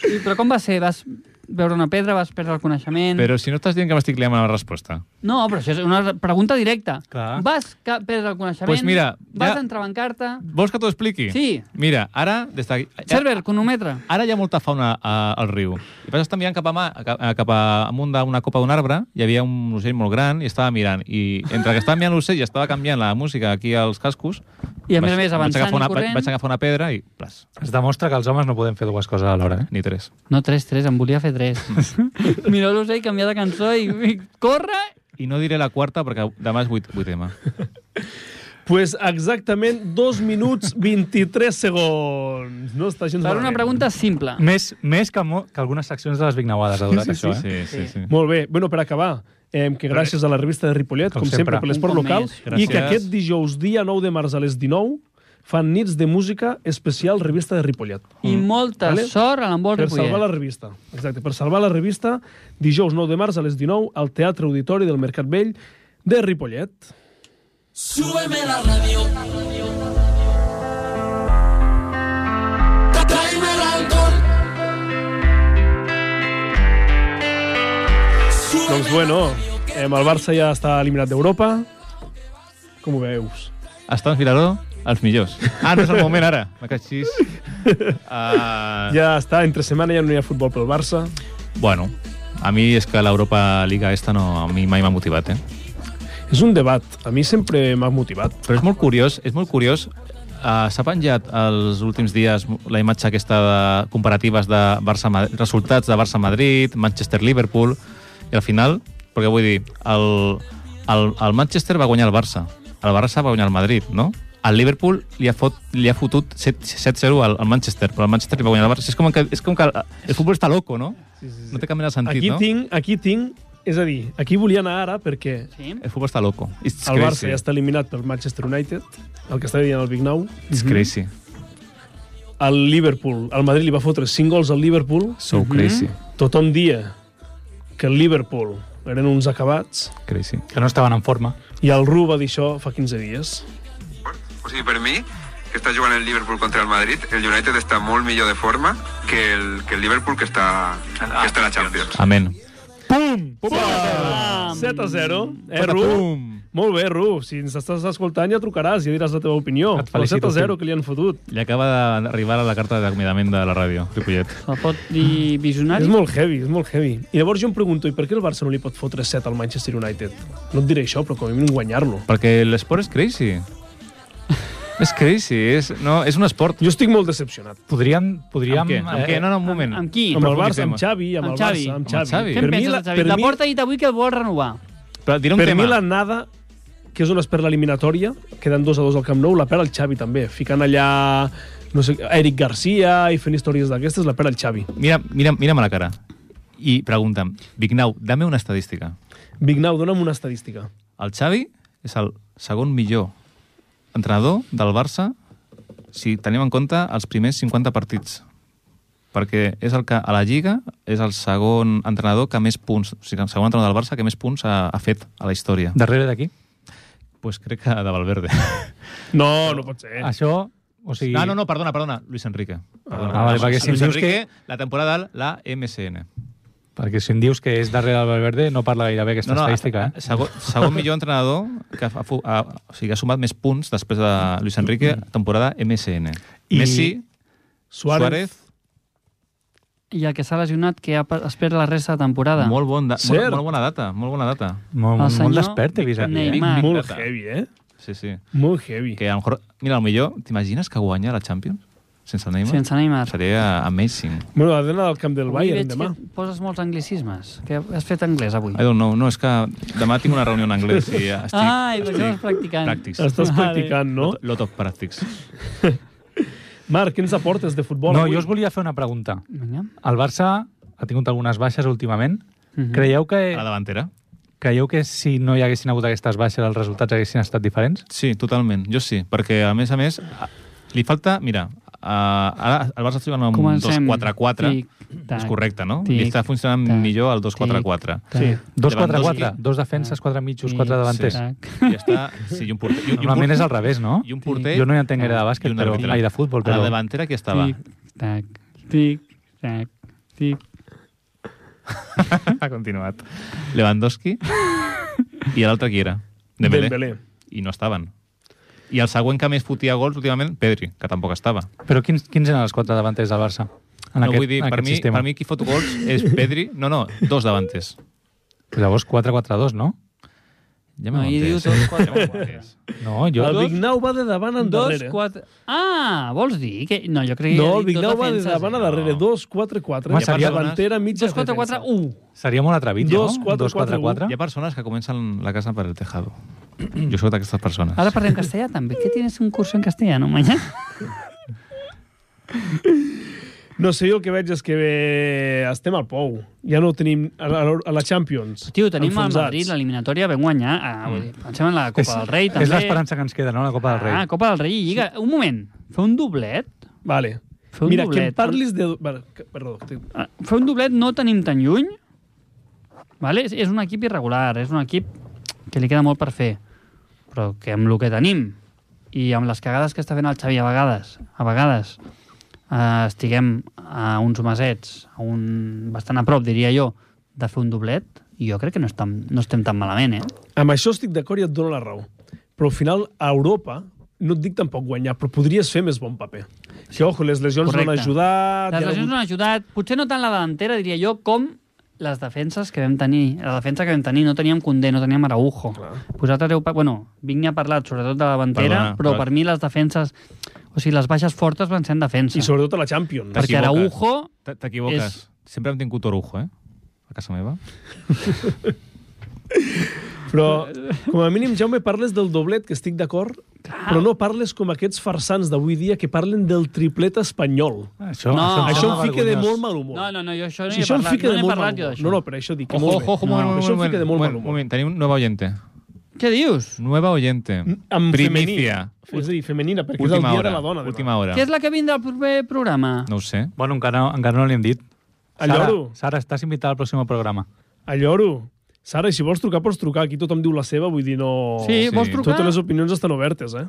Sí, però com va ser? Vas veure una pedra, vas perdre el coneixement...
Però si no estàs dient que m'estic liant amb la resposta.
No, però això és una pregunta directa.
Clar.
Vas ca- perdre el coneixement,
Pues mira,
vas
ja-
entrebancar-te...
Vols que t'ho expliqui?
Sí.
Mira, ara... Des de... eh,
Server, cronometre.
Ara hi ha molta fauna a, al riu. I vaig estar mirant cap, a mà, cap, a- cap a, amunt d'una copa d'un arbre, hi havia un ocell molt gran i estava mirant. I entre que estava mirant l'ocell i estava canviant la música aquí als cascos...
I a més a més,
vaig
avançant
agafar una,
i corrent...
Vaig agafar una pedra i... Plas,
Es demostra que els homes no podem fer dues coses alhora, eh?
ni tres.
No, 3-3, em volia fer
[LAUGHS]
3. Miró l'ocell, canviar de cançó i, i corre...
I no diré la quarta perquè demà és 8, 8 m
Pues exactament 2 minuts 23 segons. No està gens
Per una
malament.
pregunta simple.
Mm.
Més, més que, mo- que algunes seccions de les Vignauades ha durat
Sí, sí,
això, eh?
Sí, sí, sí.
Molt bé. Bueno, per acabar, eh, que gràcies a la revista de Ripollet,
Com
com, sempre,
sempre.
per l'esport
Un cop
local, i
més.
que
Gràcies.
aquest dijous, dia 9 de març a les 19, fan nits de música especial revista de Ripollet.
I molta
Vale.
sort a l'embol
Per salvar la
Ripollet.
revista. Exacte, per salvar la revista, dijous 9 de març a les 19 al Teatre Auditori del Mercat Vell de Ripollet.
Súbeme la radio. Tráeme el alcohol. Súbeme
Doncs bueno, eh, el Barça ja està eliminat d'Europa. Com ho veus?
Està en Filaró, els millors. Ah, no és el moment ara. Me caixis. Uh,
Ja està, entre setmana ja no hi ha futbol pel Barça.
Bueno, a mi és que l'Europa Liga esta no, a mi mai m'ha motivat, eh?
És un debat. A mi sempre m'ha motivat.
Però és molt curiós, és molt curiós. Uh, S'ha penjat els últims dies la imatge aquesta de comparatives de Barça -Madrid, resultats de Barça-Madrid, Manchester-Liverpool, i al final, perquè vull dir, el, el, el Manchester va guanyar el Barça, el Barça va guanyar el Madrid, no? El Liverpool li ha, fot, li ha fotut 7-0 al, al Manchester, però el Manchester li va guanyar el Barça. És com que, és com que el, el futbol està loco, no? Sí, sí, sí. No té cap mena de sentit,
Aquí
no?
tinc, aquí tinc... És a dir, aquí volia anar ara perquè
Sí?
El futbol està loco. It's
el Barça
crazy.
ja està eliminat pel Manchester United, el que està dient el Big Nou.
It's crazy.
El Liverpool, el Madrid li va fotre 5 gols al Liverpool.
So crazy.
Tothom dia que el Liverpool eren uns acabats
Crazy.
Que no estaven en forma.
i el Ru va dir això fa 15 dies.
O sigui, Pues per mi, que està jugant el Liverpool contra el Madrid, el United està molt millor de forma que el, que el Liverpool que està, que està a la Champions.
Amén.
7 a 0, eh, Ru? Molt bé, Ru, si ens estàs escoltant ja trucaràs i ja diràs la teva opinió.
Et
Però
felicito,
7 a 0 que li han fotut.
Li acaba d'arribar a la carta d'acomiadament de la ràdio, Ripollet.
Se'l pot dir visionari?
És molt heavy, és molt heavy. I llavors jo em pregunto, i per què el Barça no li pot fotre 7 al Manchester United? No et diré això, però com a mínim guanyar-lo.
Perquè l'esport és crazy. és crazy, és, no, és un esport.
Jo estic molt decepcionat.
Podríem... podríem eh,
Amb què? Amb què? No, no, un moment.
Amb qui?
Amb el Barça,
profunditzem.
amb Xavi, amb,
Amb
el
Xavi.
Barça, amb
Amb
Xavi.
Xavi.
Què en penses, la, Xavi?
per
La
mi,
porta ha dit avui que el vol renovar.
Però diré un
per
tema.
mi l'anada, que és on es perd l'eliminatòria, queden dos a dos al Camp Nou, la perd el Xavi també, ficant allà no sé, Eric Garcia i fent històries d'aquestes, la perd el Xavi.
Mira, mira, mira'm a la cara i pregunta'm, Vignau, dame una estadística.
Vignau, dona'm una estadística.
El Xavi és el segon millor entrenador del Barça si tenim en compte els primers 50 partits. Perquè és el que a la Lliga és el segon entrenador que més punts, o sigui, el segon entrenador del Barça que més punts ha, ha fet a la història.
Darrere d'aquí.
Eh. Pues crec que de Valverde.
No, no pot ser.
Això, o sigui...
Ah, no, no, perdona, perdona. Luis Enrique. Perdona.
Ah, vale, perquè si
Luis
em dius
Enrique, la temporada la MSN.
Perquè si em dius que és darrere del Valverde, no parla gaire bé aquesta no, no, estadística, eh?
Segon, segon millor entrenador que ha, fu- ha, o sigui, ha sumat més punts després de Luis Enrique, temporada MSN.
Mm. I-
I... Messi, Suárez, Suárez
I el que s'ha lesionat, que ha, per- es perd la resta de temporada.
molt, bon da, molt,
Cert.
molt, bona data, molt bona data.
Molt,
El
molt
senyor
despert, he vist aquí, eh?
Neymar.
Molt
Data.
heavy, eh?
Sí, sí.
Molt heavy.
Que a lo mejor, mira, a lo millor, t'imagines que guanya la Champions sense el Neymar?
Sense Neymar.
Seria amazing.
Bueno, la dona del Camp del
Avui
Bayern
veig
demà.
Que poses molts anglicismes, que has fet anglès avui.
I don't know. No, és que demà tinc una reunió en anglès
[LAUGHS]
i ja estic...
Ai, perquè
estic
estàs practicant.
Practics.
Estàs
Vale.
practicant, no?
Lot- Lot of practics.
Marc, què ens aportes de futbol?
No,
avui?
jo us volia fer una pregunta.
Vinga.
El Barça ha tingut algunes baixes últimament.
Mhm.
Creieu
A la
que,
davantera?
creieu que si no hi haguessin hagut aquestes baixes els resultats haguessin estat diferents?
Sí, totalment. Jo sí, perquè a més a més a- li falta... Mira, a, ara el Barça està jugant amb un
Comencem.
2-4-4.
Tic-tac.
És correcte, no?
Tic,
Li està funcionant
tac,
millor el
tic,
2-4-4.
Sí.
Dos
Lewandowski.
4-4, dos
Ah.
defenses, quatre mitjos,
tic,
quatre davanters.
sí.
tac.
I està... Sí, i un porter, i, un- i un
Normalment és
porter,
al revés, no?
I un porter... Ah.
Jo no hi entenc gaire de bàsquet,
i un Ah,
però...
arbitre.
Ai, de futbol,
A
però...
la davantera qui [LAUGHS] estava?
Tic-tac, tic-tac, tic.
ha continuat. Lewandowski i l'altre qui era? Dembélé.
Dembélé.
I no estaven. I el següent que més fotia gols últimament, Pedri, que tampoc estava.
Però quins, quins eren els quatre davanters del Barça? Ah, En
no
aquest,
vull dir,
en
per
aquest
mi,
sistema.
per mi qui fot gols és Pedri, no, no, dos davanters.
Llavors 4-4-2, no?
Ja
No, i diu
m'aguantes.
dos, quatre,
No, jo...
El Vignau va de davant en
Dos,
darrere.
quatre... tota Ah, vols dir que... No, jo creia que...
No,
havia
el
dit dos
Vignau va de
defenses.
davant a darrere.
No.
2-4-4. I
Home,
a part
seria-
davantera, mitja
Dos, quatre, quatre,
defensa.
un.
Seria molt atrevit,
Dos,
no?
quatre, quatre,
Hi ha
2-4-4.
persones que comencen la casa per el tejado. Jo soc d'aquestes persones.
Ahora parlem castellà també. ¿Qué tienes un curso en castellano mañana?
No sé, jo el que veig és que bé, estem al pou. Ja no ho tenim a la, a la Champions.
Tio, tenim
Enfonsats.
el Madrid, l'eliminatòria, vam guanyar. Ah, vull dir, pensem en la Copa del Rei, també.
És l'esperança que ens queda, no?, la Copa del Rei.
Ah, Copa del Rei i Lliga. Un moment, fer un doblet?
Vale.
Fer un
Mira, que
doblet.
em parlis de... Vale, que- perdó. que-
Ah, Fer un doblet no ho tenim tan lluny. Vale? És, és un equip irregular, és un equip que li queda molt per fer. Però que amb el que tenim i amb les cagades que està fent el Xavi a vegades, a vegades eh, estiguem a uns masets, a un, bastant a prop, diria jo, de fer un doblet, jo crec que no estem, no estem tan malament, eh?
Amb això estic d'acord i et dono la raó. Però al final, a Europa, no et dic tampoc guanyar, però podries fer més bon paper. Que, ojo, les lesions
Correcte.
Correcte. van ajudar... hi
Les
ha
lesions
hagut-
no han ajudat, potser no tant la delantera, diria jo, com les defenses que vam tenir. La defensa que vam tenir, no teníem Condé, no teníem Araujo. Vosaltres heu... pa- Bueno, Vigny ha parlat sobretot de la davantera,
Perdona,
però
però-
per mi les defenses... O sigui, les baixes fortes van ser en defensa.
I sobretot a la Champions.
Per-
perquè
T'equivoques.
Araujo...
T- T'equivoques.
És-
Sempre hem tingut Orujo, eh? A casa meva.
Però, com a mínim, Jaume, parles del doblet, que estic d'acord, però no parles com aquests farsans d'avui dia que parlen del triplet espanyol.
Això,
No.
em
això em
sembla
fica de
vergonyós.
molt mal humor.
No, no, no, jo això no
Si
hi he
això em
parlat,
fica
no
de
n'he
molt
parlat
mal
jo
humor.
d'això.
No, no, però això dic que
Ojo,
molt
ojo, ojo,
bé.
moment,
No,
moment,
això em
moment,
fica de molt
moment,
mal humor.
moment. Tenim nueva oyente.
Què dius?
Nueva oyente.
Mm, Amb
Primicia.
femení. És a dir, femenina, perquè és el
Última
dia
hora.
de la dona. demà.
Última hora.
Què és la que vindrà al proper programa?
No ho sé.
Bueno, encara no, encara no li hem dit.
El lloro.
Sara, estàs invitada al pròxim programa.
Alloro. Sara, si vols trucar, pots trucar. Aquí tothom diu la seva, vull dir, no...
Sí,
sí.
vols trucar?
Totes les opinions estan obertes, eh?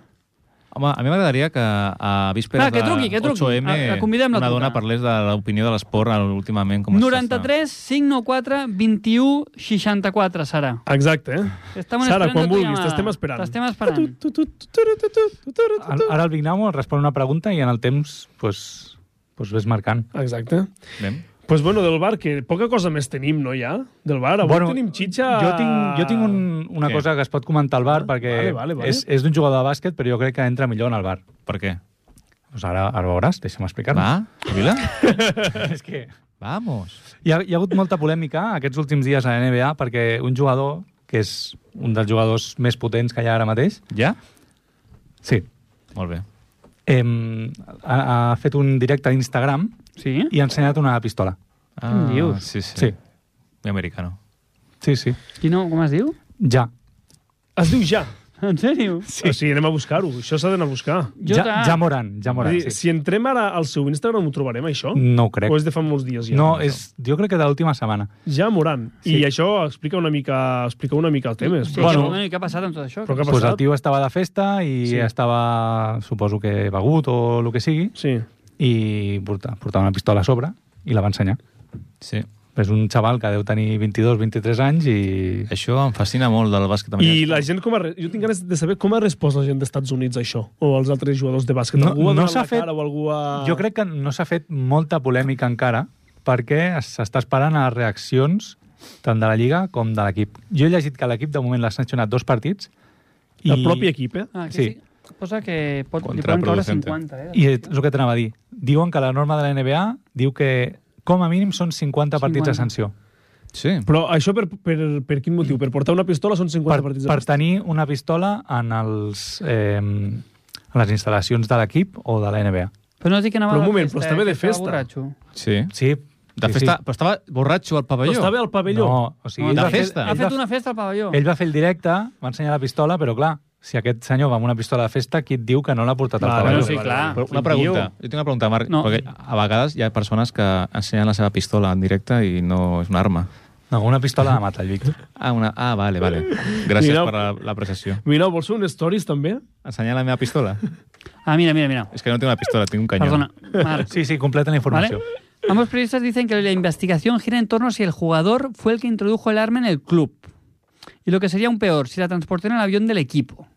Home, a mi m'agradaria que a vísperes
Va, que truqui, que truqui.
de 8M
A- la convidem, la
una dona
trucada.
parlés de l'opinió de l'esport al- últimament. Com
93 594 21 64, Sara.
Exacte, eh?
Estem
Sara,
esperant
quan
la tua
vulguis,
llamada.
t'estem esperant.
T'estem esperant.
Tu, tu, tu, tu, tu, tu, tu, tu, tu,
Ara
tu.
ara el Vignamo respon una pregunta i en el temps pues, pues ves marcant.
Exacte.
està. Anem.
Doncs pues bueno, del bar, que poca cosa més tenim, no, ja? Del bar, avui
Bueno,
tenim xitxa... Ah,
Jo tinc, jo tinc un, una
Què?
cosa que es pot comentar al bar,
vale,
perquè
vale, vale.
és, és d'un jugador de bàsquet, però jo crec que entra millor en el bar.
Per què?
Doncs ara, ara ho veuràs, deixa'm explicar-me.
Va, Vila?
És que
Vamos.
hi ha, hi ha hagut molta polèmica aquests últims dies a la NBA perquè un jugador, que és un dels jugadors més potents que hi ha ara mateix,
Ja?
sí,
Molt bé.
em, ha, ha fet un directe d'Instagram
Sí?
i ha ensenyat una pistola.
Ah,
em dius?
Sí, sí.
Sí,
Muy americano.
sí, sí.
I no, com es diu?
Ja.
Es diu ja.
[LAUGHS] En sèrio?
Sí. O sigui, anem a buscar-ho. Això s'ha d'anar a buscar.
Jo
ja,
tant.
ja Moran, ja
Vull
Moran,
dir,
sí.
Si entrem ara al seu Instagram, ho trobarem, això?
No ho crec.
O és de fa molts dies, ja?
No, és, jo crec que de l'última setmana.
Ja, Moran.
Sí.
I això explica una mica, explica una mica el tema.
Sí,
Però
bueno,
això-
i què ha passat amb tot això?
Però què ha
Pues el
passat?
tio estava de festa i
Sí.
sí. estava, suposo que begut o el que sigui,
Sí.
i porta, portava una pistola a sobre i la va ensenyar.
Sí.
És un xaval que deu tenir 22-23 anys i...
Això em fascina molt del bàsquet americà.
I la gent com ha... re- Jo tinc ganes de saber com ha respost la gent dels Estats Units a això, o els altres jugadors de bàsquet.
No-
algú ha
no
donat
s'ha
la
fet-
cara o algú ha...
Jo crec que no s'ha fet molta polèmica encara perquè s'està esperant a reaccions tant de la Lliga com de l'equip. Jo he llegit que l'equip de moment l'ha sancionat dos partits i,
El propi equip, eh?
Ah, aquí
sí.
sí. Posa que pot, li poden caure
Contraproducente.
50, eh?
i és el que t'anava a dir. Diuen que la norma de la NBA diu que com a mínim són 50 partits
50.
de sanció.
Sí.
Però això per, per, per quin motiu? Per portar una pistola són 50
per,
partits de
per
bàsquet.
tenir una pistola en, els, eh, en les instal·lacions de l'equip o de la NBA.
Però no has dit que anava
Però un
de
moment,
festa,
però estava
eh, que
de
estava
festa.
borratxo.
Sí.
Sí.
De
sí,
festa, però estava borratxo al
Però
pavelló.
estava al
Sí.
pavelló.
No, o sigui,
No,
ell,
de
va fer,
festa.
Ha
ell,
fet
va,
una festa al pavelló.
ell va fer el directe, va ensenyar la pistola, però clar, si aquest senyor va amb una pistola de festa, qui et diu que no l'ha portat al
Vale,
pavelló?
Bueno, sí, clar.
Però una
Quin
pregunta.
tio.
Jo tinc una pregunta, Marc,
No.
no. perquè a vegades hi ha persones que ensenyen la seva pistola en directe i no és una arma.
No, una pistola de mata, el Víctor.
Ah, una... ah vale, vale. Gràcies
Mireu.
per la- l'apreciació.
Mira, vols fer un stories, també?
Ensenyar la meva pistola?
Ah, mira, mira, mira.
És que no tinc una pistola, tinc un canyó.
Perdona, Marc.
Sí, sí, completa la
¿Vale?
informació.
Ambos periodistas dicen que la investigación gira en torno a si el jugador fue el que introdujo el arma en el club. Y lo que sería aún peor, si la transportó en el avión del equipo.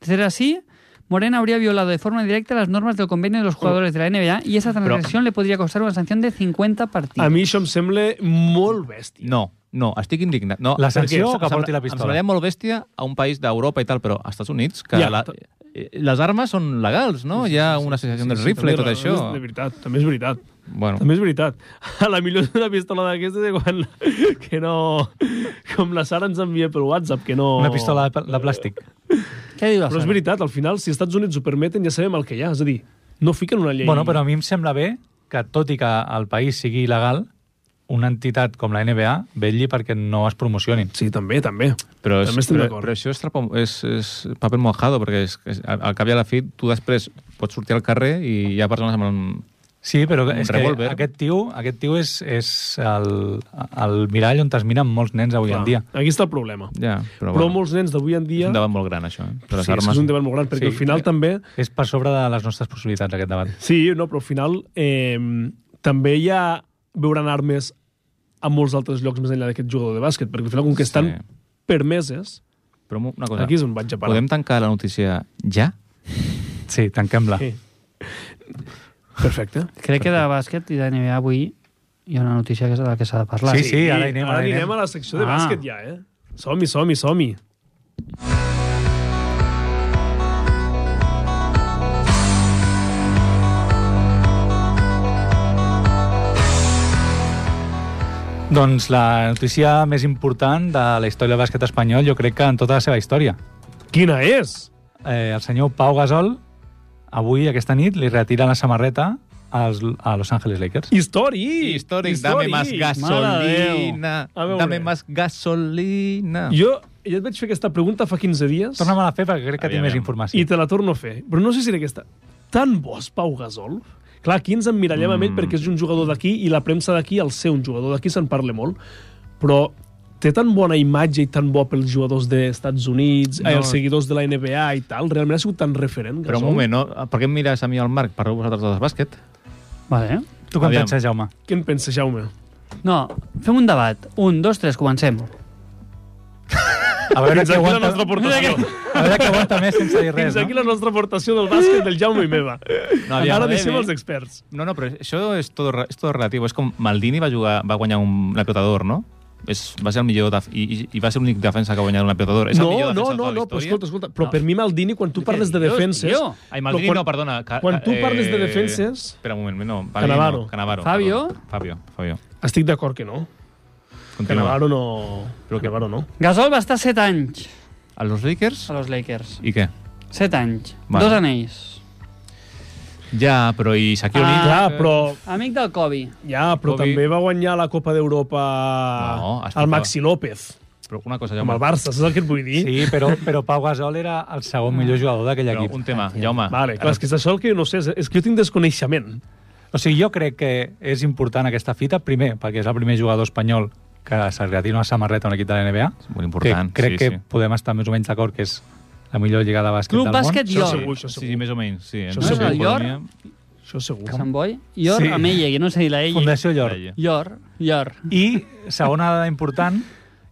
De ser así, Morena habría violado de forma directa las normas del convenio de los jugadores de la NBA y esa transgresión le podría costar una sanción de 50 partidos.
A mi això em sembla molt bèstia.
No, no, estic indignat. No,
La sanció
perquè
o que
em sembla-
porti la pistola?
Em semblaria molt bèstia a un país d'Europa i tal, però als Estats Units, que
Ja,
ja, la,
tot-
eh, les armes són legals, no? Hi ha una associació del rifle i tot això.
De veritat, també és veritat.
Bueno,
També és veritat. [LAUGHS] A la millor és una pistola d'aquestes de quan... [LAUGHS] que no... Com la Sara ens envia per WhatsApp, que no...
Una pistola de, pl- de plàstic.
¿Qué ha dicho la
Però és
Sara?
veritat, al final, si als Estats Units ho permeten, ja sabem el que hi ha. És a dir, no fiquen una llei...
Bueno, però a mi em sembla bé que, tot i que el país sigui il·legal, una entitat com la NBA vetlli perquè no es promocionin.
Sí, també, també.
però, és,
També estem
però,
d'acord.
però això és, trapo, és, és paper mojado, perquè és, és, al al cap i a la fi tu després pots sortir al carrer i hi ha persones amb... un-
Sí, però
Un
és que
revòlver.
aquest tio, aquest tio és, és el, el mirall on es miren molts nens avui en dia.
Aquí està el problema.
Ja, però,
Però, però molts nens d'avui en
És
dia...
un debat molt gran, això. Eh? Però les
sí, és que
armes...
és un debat molt gran, perquè
Sí.
sí. al final també...
És per sobre de les nostres possibilitats, aquest debat.
Sí, no, però al final eh, també hi ha... veuran armes a molts altres llocs més enllà d'aquest jugador de bàsquet, perquè al final, com que estan
Sí.
permeses,
Però una cosa,
aquí és on vaig a parar.
podem tancar la notícia ja?
Sí, tanquem-la.
Sí. Perfecte.
Crec que de bàsquet i de NBA avui hi ha una notícia que és de la que s'ha de parlar.
Sí, sí, ara hi anem,
ara
ara hi
anem.
anem.
a la secció de
Ah.
bàsquet ja, eh? Som-hi, som-hi, som-hi.
Doncs la notícia més important de la història del bàsquet espanyol, jo crec que en tota la seva història.
Quina és?
Eh, el senyor Pau Gasol, avui, aquesta nit, li retira la samarreta als, a Los Angeles Lakers.
Històric!
Històric, dame más gasolina,
A veure.
dame más gasolina.
Jo, jo et vaig fer aquesta pregunta fa 15 dies
Torna'm a la fer perquè crec que
Aviam,
té més
aviam.
informació.
i te la torno a fer. Però no sé si era aquesta. Tan bo és Pau Gasol? Clar, aquí ens emmirallem mm. amb ell perquè és un jugador d'aquí i la premsa d'aquí, el ser un jugador d'aquí, se'n parla molt. Però té tan bona imatge i tan bo pels jugadors dels Estats Units, no.
No.
els seguidors de la NBA i tal. Realment ha sigut tan referent, Gasol.
Però un moment, no? per què em mires a mi al Marc? Parleu vosaltres dels bàsquet?
Vale.
Tu com
Aviam.
penses, Jaume?
Què en penses, Jaume?
No, fem un debat. Un, dos, tres, comencem.
A veure
[LAUGHS] Fins
què
aquí la
aguanta,
nostra aportació.
a veure què aguanta més sense dir res,
Fins aquí
no?
la nostra aportació del bàsquet del Jaume i meva.
No, aviam, eh?
Ara
bé,
deixem
bé.
els experts.
No, no, però això és tot, re- és tot relatiu. És com Maldini va, jugar, va guanyar un, la pilota d'or, no? És, va ser el millor def i, i, i va ser l'únic defensa que ha guanyat una pilota d'or. És el
No,
millor
no, no,
defensa de
no, però
tota la història.
escolta, escolta, però per mi Maldini, quan tu parles de
dius,
defenses...
tio?
Ai, Maldini,
però
no, perdona. Ca,
quan tu
eh,
parles de defenses-
Espera un moment, no. Maldini
Cannavaro.
No, Canavaro.
Fabio?
Fabio, Fabio.
Estic d'acord que no. Que
Continua.
Navarro no... Però que Navarro no.
Gasol va estar set anys
A los Lakers?
a los Lakers.
I què?
Set anys.
Vale.
Dos anells.
Ja, però i Shaquille
Ah,
O'Neal?
Ja, però,
Amic del Kobe.
ja, però
Kobe.
també va guanyar la Copa d'Europa
No, has
el
fet-
Maxi López,
Però una cosa,
amb
Jaume.
el Barça, saps el que et vull dir?
Sí, però, però Pau Gasol era el segon
Ah.
millor jugador d'aquell
Però
equip.
un tema, Jaume.
Vale, clar, és que és això el que jo no sé, és- és que jo tinc desconeixement.
O sigui, jo crec que és important aquesta fita, primer, perquè és el primer jugador espanyol que se li retira una samarreta a un equip de la NBA.
Molt important,
Que crec
sí,
que
sí.
podem estar més o menys d'acord que és la millor lliga de bàsquet
Club
del
Bàsquet
món.
York.
Això segur, això
Sí,
segur.
sí, més o menys, sí.
Això
Entonces,
segur.
la
York?
economia-
Això segur.
Sant Boi. Ior
Sí.
sí. Amella, que no sé dir la ella.
Fundació York.
Ella.
Ior, Ior.
I segona dada important,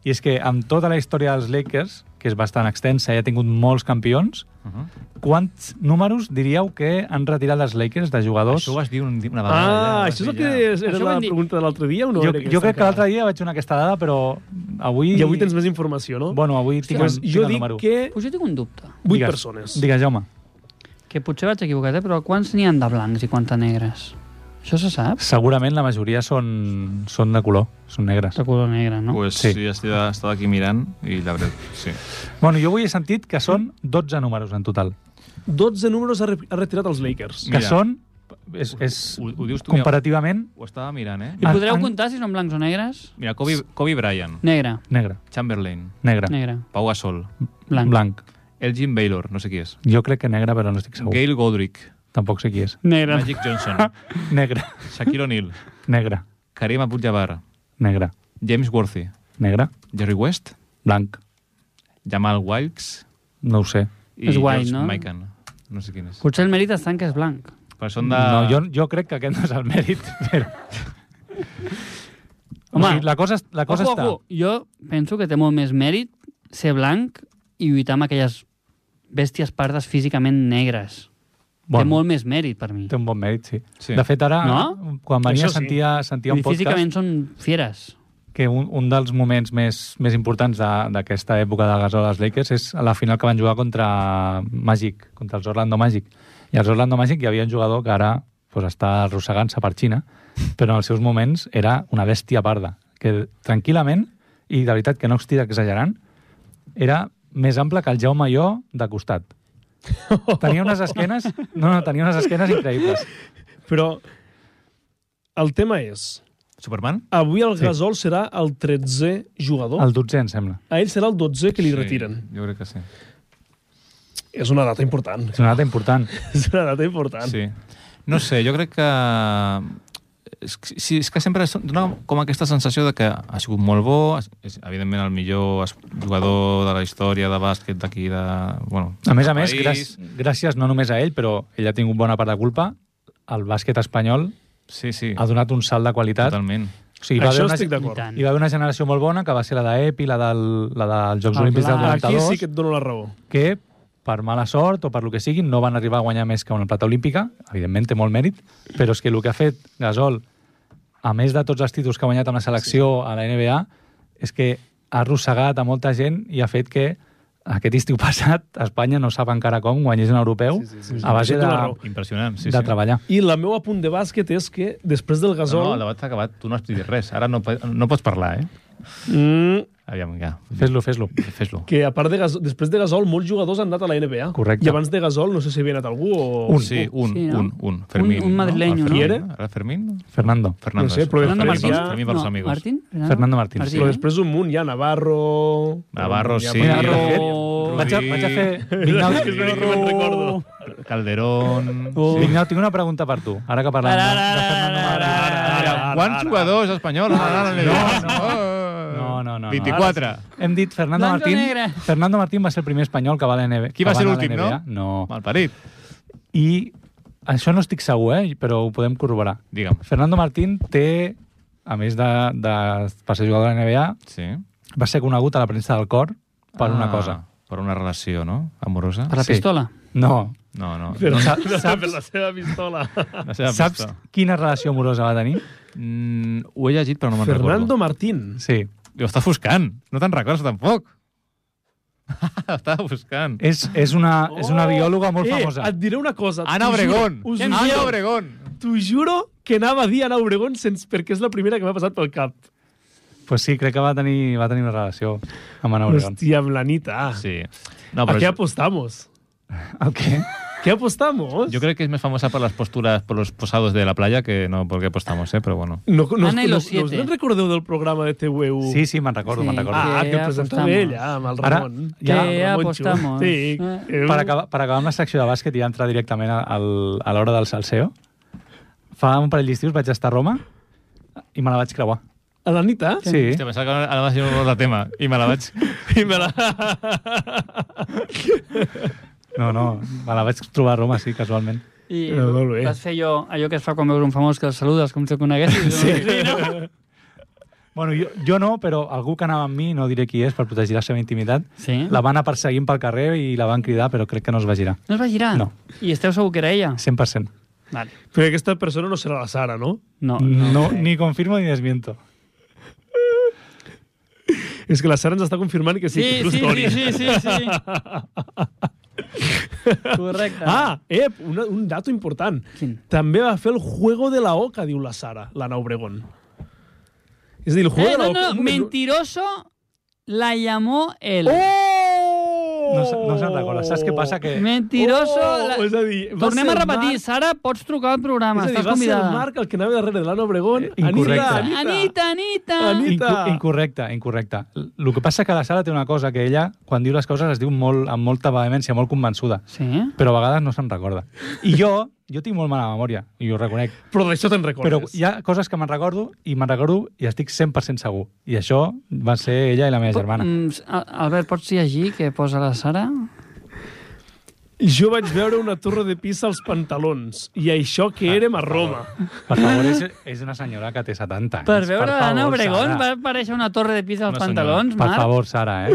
i és que amb tota la història dels Lakers, que és bastant extensa i ha tingut molts campions,
Mhm.
quants números diríeu que han retirat els Lakers de jugadors?
Això ho has dit un- una vegada. ja, ho
Ah,
has
això és el
dit
que
ja.
era
Això ho
la
hem dit.
pregunta de l'altre dia o no?
jo,
era
jo
aquesta
crec que
encara?
l'altre dia vaig donar aquesta dada, però avui...
I avui tens més informació, no?
Bueno, avui tinc,
doncs
tinc
jo
el
dic
número.
que
Pues jo tinc un dubte,
8
Digues.
persones.
Digues, Jaume.
que potser vaig equivocat, eh? però quants n'hi han de blancs i quants de negres? Això se sap?
Segurament la majoria són, són de color, són negres.
De color negre, no?
Pues
Sí.
sí, ja estic, estava aquí mirant i la veritat, sí.
Bueno, jo avui he sentit que són 12 números en total.
12 números ha, re ha retirat els Lakers.
Que
Mira.
són... És, és
Ho, ho dius tu,
comparativament
mira, ho estava mirant, eh?
I
en-
podreu
en-
comptar si són blancs o negres?
Mira, Kobe, Kobe Bryant,
Negre,
negre,
Chamberlain,
negre,
negre,
Pau Gasol,
blanc.
blanc.
Elgin Baylor, no sé qui és,
Jo crec que negre, però no estic segur.
Gail Godric,
Tampoc sé qui és. Ah,
Negre.
Magic Johnson,
[LAUGHS] Negre,
Shaquille O'Neal,
negre,
Karim Abdul-Jabbar,
negre,
James Worthy,
negre,
Jerry West,
blanc.
Jamal Wilkes
No ho sé.
i
És guai,
George
no?
Mikan. No sé quin és.
Potser el mèrit està en que és blanc.
Però són de...
No, jo, jo crec que aquest no és el mèrit, [LAUGHS] però...
Home,
o sigui, la cosa, la cosa
ojo,
està...
ojo, jo penso que té molt més mèrit ser blanc i lluitar amb aquelles bèsties pardes físicament negres. Bueno. Té molt més mèrit per mi.
té un bon mèrit, sí.
Sí.
De fet, ara,
No?
quan venia,
Això sí.
sentia, sentia un
I
podcast...
físicament són fieres.
que un, un dels moments més, més importants de- d'aquesta època de Gasol als Lakers és a la final que van jugar contra Magic, contra els Orlando Magic. I als Orlando Magic hi havia un jugador que ara pues, està arrossegant-se per Xina, però en els seus moments era una bèstia parda, que tranquil·lament, i de veritat que no estic exagerant, era més ample que el Jaume i jo de costat. Tenia unes esquenes... No, no, tenia unes esquenes increïbles.
Però el tema és,
Superman?
avui el
Sí.
Gasol serà el 13è jugador.
El 12, em sembla.
A ell serà el 12 que li retiren.
Sí, jo crec que sí.
És una data important. [LAUGHS]
És una data important.
És una data important.
Sí. No sé, jo crec que... És que, sí, és que sempre es dona com aquesta sensació de que ha sigut molt bo, és- és, evidentment el millor es- jugador de la història de bàsquet d'aquí de... Bueno,
A més a
del
més, gràcies,
país.
gràcies no només a ell, però ell ha tingut bona part de culpa, el bàsquet espanyol
Sí, sí,
ha donat un salt de qualitat.
totalment.
O sigui, va haver
Això
una,
estic d'acord.
tant.
hi va haver una generació molt bona, que va ser la d'EPI, la, del, la dels Jocs
El
Olímpics del
Blas.
Ah, Aquí
92,
sí que et dono la raó.
que per mala sort o per lo que sigui, no van arribar a guanyar més que una plata olímpica, evidentment té molt mèrit, però és que el que ha fet Gasol, a més de tots els títols que ha guanyat amb la selecció a la NBA, és que ha arrossegat a molta gent i ha fet que aquest estiu [LAUGHS] passat Espanya no sap encara com guanyés un europeu sí, sí, tota sí, a base
Sí, té
de,
la raó.
Ah, Impressionant, sí,
Ah, de
sí.
treballar.
I la meva punt de bàsquet és que després del
No, no,
gasol...
el debat s'ha acabat, tu no has dit res, ara no, pa- no pots parlar, eh?
mm,
Aviam, ja,
Fes-lo, fes-lo.
fes-lo.
que a part de gasol, després de gasol molts jugadors han anat a la NBA.
Correcte.
I abans de gasol no sé si havia anat algú o...
Un, sí, un,
Sí,
sí,
no?
no? un, un, Fermín.
un madrileño,
no?
¿no?
Fermín,
¿Y era?
Ara Fermín?
Fernando.
Fernández.
No sé, pero
Fernando
Fermín
Martín.
para-
Fermín para los
no,
amigos.
Martín.
Fernando Martín.
Martín,
Però
eh?
després un munt, hi ha Navarro...
Navarro,
Hi ha
sí.
Navarro.
Rubí,
Vaig a, vaig a fer... Vignau,
[LAUGHS] És que [LAUGHS] no me'n recordo.
Calderón...
Oh. Vignau, tinc una pregunta per tu. Ara que parlem de, de Fernando
Mira,
Martín.
quants jugadors espanyols? Ara, ara, ara,
No, no, no.
24.
Hem dit Fernando
Blanco
Martín.
negre.
Fernando Martín va ser el primer espanyol que va a la NBA.
Qui va
que
ser
anar a
l'últim,
la NBA. No.
Malparit.
I això no estic segur, eh? però ho podem corroborar.
Digue'm.
Fernando Martín té, a més de, de per ser jugador de la NBA,
Sí.
va ser conegut a la premsa del cor per
Ah.
una cosa.
Per una relació, no? Amorosa?
Per la
Sí.
pistola.
No.
No, no.
Però,
no,
Sa-
saps, [LAUGHS] per la seva pistola.
la seva
Saps
pista.
quina relació amorosa va tenir?
Mm, ho he llegit, però no me'n
Fernando
recordo.
Martín.
Sí.
Ho està buscant. No te'n recordes, tampoc. [LAUGHS] Ho estava buscant.
És, és, una, és una biòloga molt
eh,
famosa.
et diré una cosa.
Ana
t'ho
Obregón.
Juro, us
Ana
juro,
Obregón.
T'ho juro que anava a dir Ana Obregón sense, perquè és la primera que m'ha passat pel cap.
Pues sí, crec que va tenir, va tenir una relació amb Ana Obregón.
Hòstia, amb l'Anita. Sí,
Sí. No,
a
però
què apostamos?
El què?
¿Qué apostamos?
Yo creo que es más famosa por las posturas, por los posados de la playa, que no porque apostamos, ¿eh? Pero bueno.
No, no,
Ana y
no,
los
no,
siete.
no recordeu del programa de
Uh.
TVU?
Sí, sí, me'n recordo,
Sí.
sí. me'n recordo.
Ah,
Que
que presentava
apostamos.
ella, amb el
Ara,
Ramon.
ja
Amb el Ramon Xu.
apostamos.
Sí.
Eh.
Eh,
Per acabar, per acabar amb la secció de bàsquet i ja entrar directament al, a l'hora del salseo, fa un parell d'estius vaig estar a Roma i me la vaig creuar.
A l'Anita?
Sí.
Hostia, pensaba que ahora- ahora va a ser un otro tema. Y me la vaig-
I me la...
No, no, me la vaig trobar a Roma, sí, casualment.
I
Eh, molt bé.
vas fer allò, allò que es fa quan veus un famós que el saludes com si el
[LAUGHS]
coneguessis. Sí. sí no?
Bueno, jo, jo no, però algú que anava amb mi, no diré qui és, per protegir la seva intimitat,
Sí.
la van anar perseguint pel carrer i la van cridar, però crec que no es va girar.
No es va girar?
No.
I esteu segur que era ella?
100%.
Vale.
Perquè aquesta persona no serà la Sara, no?
No.
No, ni confirmo ni desmiento.
És que la Sara ens està confirmant que sí, que
Sí,
true
sí,
story.
sí, sí,
[LAUGHS]
sí, sí. Correcte.
Ah, ep, una, un dato important.
Quin?
També va fer el Juego de la Oca, diu la Sara, l'Anna Obregón. És a dir, el Juego
eh,
de la
no,
Oca...
no, mentiroso la llamó él.
Oh!
No, se- no se'n recorda. Saps què passa? Que
Mentiroso...
eh, Oh,
la...
és a dir, va
Tornem
ser
a
el
repetir.
Marc-
Sara, pots trucar al programa.
és a dir,
Estàs
va ser el
convidada.
Marc el que anava darrere de l'Anna Obregón.
Eh, incorrecte.
Anita, Anita.
Anita, Anita.
Anita.
Inco incorrecte, incorrecte. El que passa que la Sara té una cosa, que ella, quan diu les coses, es diu molt, amb molta vehemència, molt convençuda,
Sí?
però a vegades no se'n recorda. I jo, jo tinc molt mala memòria, i ho reconec,
Però d'això te'n recordes.
però hi ha coses que me'n recordo, i me'n recordo i estic 100% segur. I això va ser ella i la meva germana.
Mm, Al- Albert, pots llegir què posa la Sara?
Jo vaig veure una torre de pisa als pantalons, i això
Ah.
que érem a Roma.
Per favor, és, és una senyora que té 70 anys.
Per veure l'Anna
favor,
Obregón
Sara.
va aparèixer una torre de pis als
Una
pantalons,
Per
Marc. Ah,
favor, Sara, eh?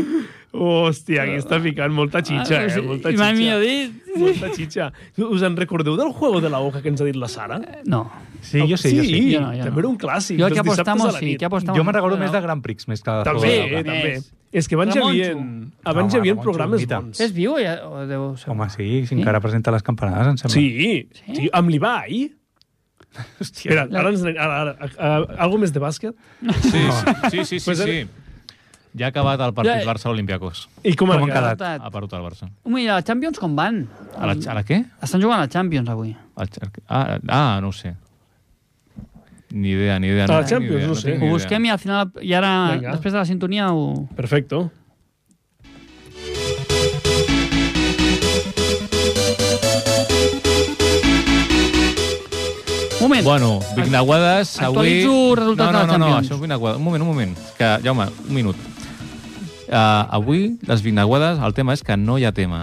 Hòstia, aquí està ficant molta xitxa, eh? Molta
I mai millor
xitxa.
dit.
Molta xitxa. Us en recordeu del Juego de la Oca que ens ha dit la Sara?
No.
Sí, jo sí, jo sí.
Jo no, jo no.
també era un clàssic.
Jo
dels
que
doncs dissabtes
apostamos,
a la
sí,
nit.
que apostamos.
Jo me'n recordo
no.
més de Grand Prix, més que de
També,
Juego
eh,
de la Boca.
també.
Més.
És que abans hi
Ramon
havia,
Chu.
abans hi havia
Ramon Chu,
programes
mita.
bons.
És viu ja, o deu ser...
Home, sí, si encara presenta les campanades, em sembla.
Sí, sí, amb l'Ibai. Espera, ara ens anem... Ara, ara, a, a, algo més de bàsquet?
Sí, sí, sí, sí,
Pues
sí,
era-
sí. Ja ha acabat el partit
Ja- Ah.
Barça-Olympiacos.
I com,
Com
com
han
quedat?
quedat?
Estat.
Ha perdut el Barça.
Mira, la Champions com van?
A la,
Mm.
a la què?
Estan jugant a la Champions avui.
Al Xar- Ah, ah, no ho sé. Ni idea, ni idea.
A la
tinc ni
Champions,
idea,
no sé.
tinc ni
Ho
idea.
busquem i al final... I ara,
Vinga.
després de la sintonia, ho...
Perfecto.
Un moment.
Bueno, Vignaguades, avui...
Actualitzo resultats
no,
de la
no, no, no,
Champions.
això és Vignaguades. Un moment, un moment. Que, Jaume, un minut. Uh, avui, les Vignaguades, el tema és que no hi ha tema.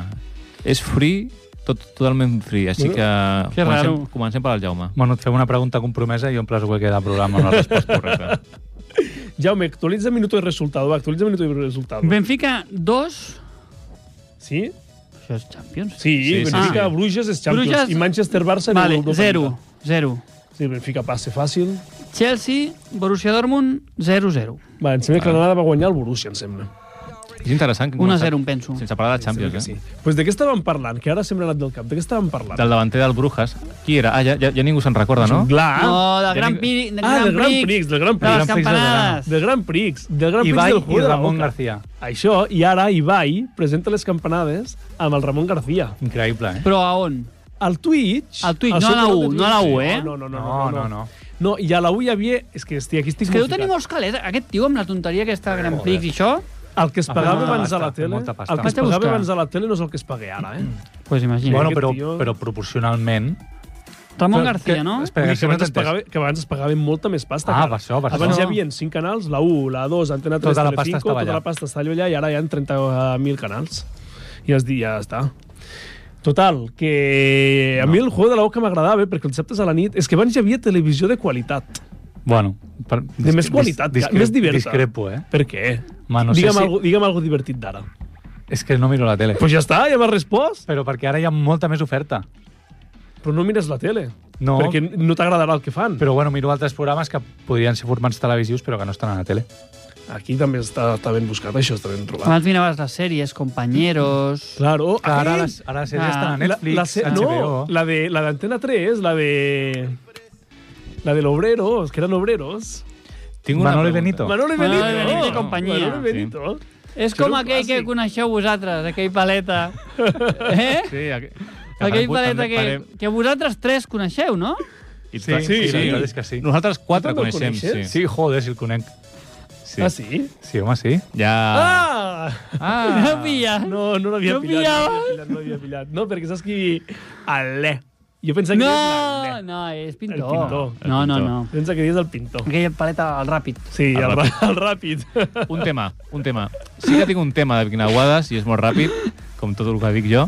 És free, tot, totalment free. Així que
que
comencem,
raro.
comencem per al Jaume.
Bueno, et fem una pregunta compromesa i omples el que queda del programa amb la resposta. [LAUGHS]
Correcte.
Jaume, actualitza minuto de resultado. Va, actualitza minuto de resultado.
Benfica 2,
Sí?
Això és Champions?
Sí, sí
sí,
Benfica,
sí.
Bruges és Champions.
Bruges-
I Manchester-Barça... en
Vale,
Europa
0,
League.
0.
Sí, Benfica passe fàcil.
Chelsea, Borussia Dortmund, 0-0.
Va, em sembla que l'anada va guanyar el Borussia, em sembla.
És interessant. que
1-0, em
comença-
penso.
Sense parlar de Champions, eh?
Sí. Pues de què estàvem parlant? Que ara sempre ha anat del cap. De què estàvem parlant?
Del davanter del Brujas. Qui era? Ah, ja, ja, ja ningú se'n recorda, no?
Clar.
No, del Gran
Ja
Prix. Del
Ah, del Gran Prix, del Gran Prix.
Gran
De les
Prix de
campanades.
Del Gran Prix. Del Gran Prix
Ibai
del
i
Juego de la
Ramon
Boca.
García.
Això, i ara Ibai presenta les campanades amb el Ramon García.
Increïble, eh?
Però a on?
Al Twitch...
Al Twitch, no
seu
a la
canal de
U, no
Twitch.
a la U, eh?
No, no, no.
No, no, no.
No, i a la U hi havia... És que estic, aquí estic
És que deu
molt
tenir
ficat.
molts calés, aquest tio, amb la tonteria aquesta de Gran Prix i això.
El que es
Ah,
pagava
molta
abans a
pasta,
la tele... El
molta
que
pasta.
es
Vaig a
pagava
buscar.
abans a la tele no és el que es paga ara, eh?
Doncs pues imagina.
Bueno,
aquest
però,
tio-
però proporcionalment...
Ramon
Però
García,
que-
no?
Espera,
Vull dir que, abans
que
es
no
pagava, que abans es pagava molta més pasta.
Ah,
que ara.
per això, per
abans
això.
hi havia cinc canals, la 1, la 2, Antena 3,
Tota la pasta
Telecinco,
estava
tota
allà.
la pasta està allà, i ara hi ha 30.000 canals. I es dir, ja està. Total, que a mi el Juego de la Boca m'agradava, perquè els dissabtes a la nit... És que abans hi havia televisió de qualitat.
Bueno, per,
De més qualitat, més diversa.
Discrepo, eh?
Per què?
Ma, no sé
digue'm,
si-
algo, digue'm algo divertit d'ara. Doncs
És que no miro la tele.
pues ja està, ja m'has respost.
Però perquè ara hi ha molta més oferta.
Però no mires la tele.
No.
Perquè no t'agradarà el que fan.
Però bueno, miro altres programes que podrien ser formats televisius però que no estan a la tele.
Aquí també està, està ben buscat, això està ben trobat.
Abans miraves les sèries, Compañeros...
Claro.
Ah. Que ara
aquell-
les, ara les sèries
Ah,
estan a Netflix,
Eh? la, la se-
HBO...
No, la de la de Antena 3, la de la del obrero, es que eran obreros.
Tinc una
Manolo i
pregunta.
Benito.
Manolo y
Manolo
Benito.
y Ah, Benito y compañía.
Manolo y Benito.
És
Això
com
era un
aquell que
clàssic.
coneixeu vosaltres,
[LAUGHS]
aquell paleta. Eh?
Sí, aqu
Aquell paleta
també
que,
parem-
que vosaltres tres coneixeu,
[LAUGHS]
no?
I
Sí,
sí,
sí,
sí,
la veritat és que sí.
Nosaltres quatre
també el
coneixem, sí.
coneixes?
Sí, joder, si el conec.
sí.
Ah, sí?
Sí, home, sí.
Ja...
Ah!
Ah. No pilla.
No, no l'havia
No
pillat,
pillava.
no l'havia pillat, no l'havia pillat. No, perquè saps qui... Ale. Jo pensava que
No,
deies l'Ale.
no, és pintor.
El pintor. El
No, no,
pintor.
no.
Pensa que dius el pintor.
Aquell paleta al ràpid.
Sí,
El
el,
ràpid.
ra- el ràpid.
Un tema, un tema. Sí que tinc un tema de Guinauades i és molt ràpid, com tot el que dic jo.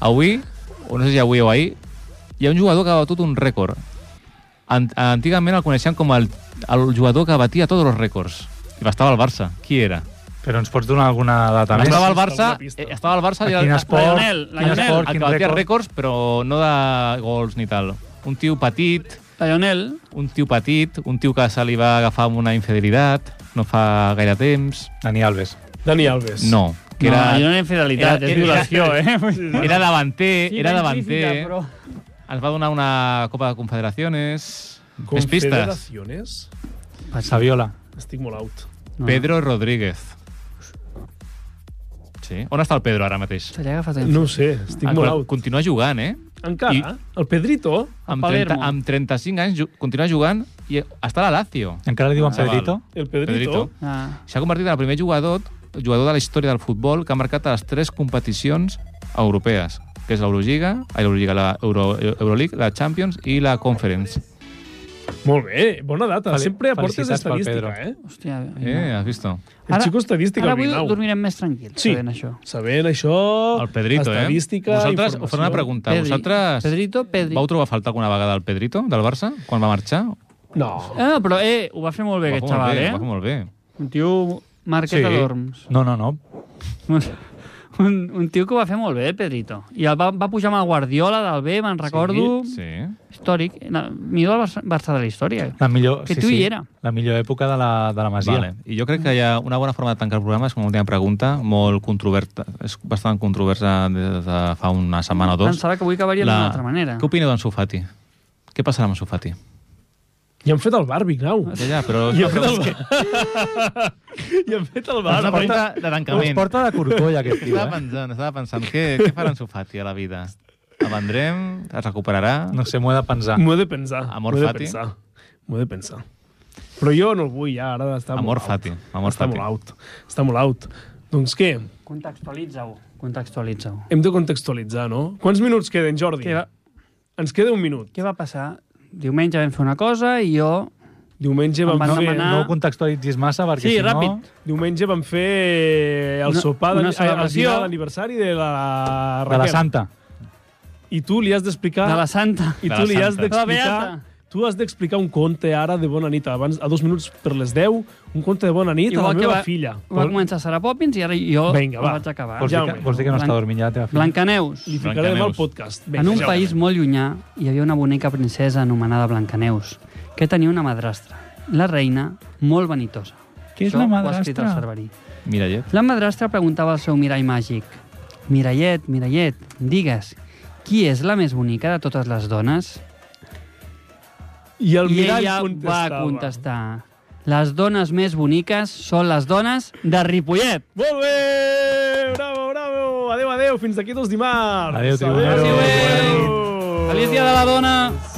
Avui, o no sé si avui o ahir, hi ha un jugador que ha batut un rècord. Ant antigament el coneixien com el, el jugador que batia tots els rècords. I estava al Barça. Qui era?
Però ens pots donar alguna data més?
Estava al
pista,
Barça,
alguna pista.
eh, estava al Barça i
Quin
el,
esport,
Lionel,
quin
Lionel,
esport,
el que
quin
batia
rècord.
rècords, però no de gols ni tal. Un tio petit,
Lionel,
un tio petit, un tio que se li va agafar amb una infidelitat, no fa gaire temps...
Dani Alves.
[LAUGHS] Dani Alves.
No, que
no,
era...
jo no he fidelitat,
era-
és violació, [LAUGHS] eh?
Era davanter,
Sí,
era
ben
davanter.
implícita,
¿eh?
però-
Ens va donar una Copa de Confederaciones. Més pistes.
Confederaciones?
Saviola.
Estic molt out.
No.
Pedro Rodríguez. Sí. On està el Pedro ara mateix?
Se li ha agafat el...
No ho sé, estic
Ah,
molt
clar,
out.
Continua jugant, eh?
Encara? El Pedrito?
Amb,
Palermo.
30, amb 35 anys ju- continua jugant i està a la Lazio.
Encara li diuen
Ah,
Pedrito?
El Pedrito?
Pedrito.
Ah.
S'ha convertit en el primer jugador, jugador de la història del futbol que ha marcat a les tres competicions europees, que és l'Eurolliga, ai, l'Eurolliga, la Euro, Euroleague, la Champions i la Conference.
Molt bé, bona data.
Fel-
Sempre aportes
felicitats pel
estadística,
Pedro.
eh?
Hòstia,
Eh, has vist?
El
Ara-
xico estadístic
Ara
al
avui
Vignau.
dormirem més tranquils,
Sí.
sabent això.
Sabent això,
El Pedrito, eh?
estadística,
Vosaltres, us faré
informació.
una pregunta.
Pedri.
Vosaltres
Pedrito, Pedri.
vau trobar a faltar alguna vegada el Pedrito del Barça quan va marxar?
No.
Ah, però, eh, ho va fer molt bé,
Ho va
aquest
fer molt
xaval,
bé,
eh?
ho Va fer molt bé.
Un tio marquet sí. a dorms.
No, no, no.
Un, un, un tio que ho va fer molt bé, el Pedrito. I el va, va pujar amb el Guardiola del B, me'n recordo, sí.
Sí.
històric. La, millor del Barça, Barça de la història.
La millor,
Que
sí,
tu hi
sí,
era.
La millor època de la, de la Masia.
Vale. I jo crec que hi ha una bona forma de tancar el programa és com una última pregunta, molt controverta, és bastant controversa des de fa una setmana o dos.
Pensava que avui acabaria la... d'una altra manera.
Què opineu d'en Sufati? Què passarà amb en Sufati?
I han fet el bar, Vignau.
Ja, ja, però...
I han fet el bar. [LAUGHS] I han fet el bar.
És [LAUGHS] una
oi?
pregunta de
Us
tancament.
porta de corcoll, aquest tio,
[LAUGHS] Estava
eh?
pensant, estava pensant, què, què farà en Sufati a la vida? El vendrem? Es recuperarà?
No sé, m'ho he de pensar.
Mm.
M'ho he de pensar.
Amor
M'ho he de
Fati.
pensar. M'ho he de pensar. Però jo no el vull, ja, ara està
Amor
molt out.
Fati. Amor
està
Fati.
molt out. Està molt out. Doncs què?
Contextualitza-ho. Contextualitza-ho.
Hem de contextualitzar, no? Quants minuts queden, Jordi?
Què va,
Ens queda un minut.
què va passar? Diumenge vam fer una cosa i jo...
Diumenge
Em
vam
van
fer...
demanar-
No ho contextualitzis massa, perquè
Sí,
si
ràpid.
no...
Diumenge vam fer el
Una-
sopar, de,
una
el
celebració.
dinar d'aniversari de la
De
Raquel.
la Santa.
I tu li has d'explicar...
De la Santa.
I
De
tu
la
li has
Santa.
De la
d'explicar
Beata.
Tu has d'explicar un conte ara de bona nit, abans, a dos minuts per les 10, un conte de bona nit a la meva
va,
filla.
va començar Sara Poppins i ara jo
Vinga, va.
la vaig acabar.
Vols, dir que,
Jaume.
vols dir que no està
Blanc-
dormint ja la teva filla?
Blancaneus.
Li ficaré demà al
Blancaneus.
podcast. Vinga,
En un
ja ho
país
veurem.
molt llunyà hi havia una bonica princesa anomenada Blancaneus que tenia una madrastra, la reina, molt vanitosa.
Què és
Això
la
Ho ha escrit el
madrastra?
Cerverí.
Mira, llet.
La madrastra preguntava al seu mirall màgic. Mirallet, mirallet, digues, qui és la més bonica de totes les dones?
I el
I
mirall
ella
contestava.
va contestar. Les dones més boniques són les dones de Ripollet.
Molt bé! Bravo, bravo! Adéu, adéu! Fins d'aquí dos dimarts!
Adéu, tribunero.
Adéu.
Feliç dia de la dona!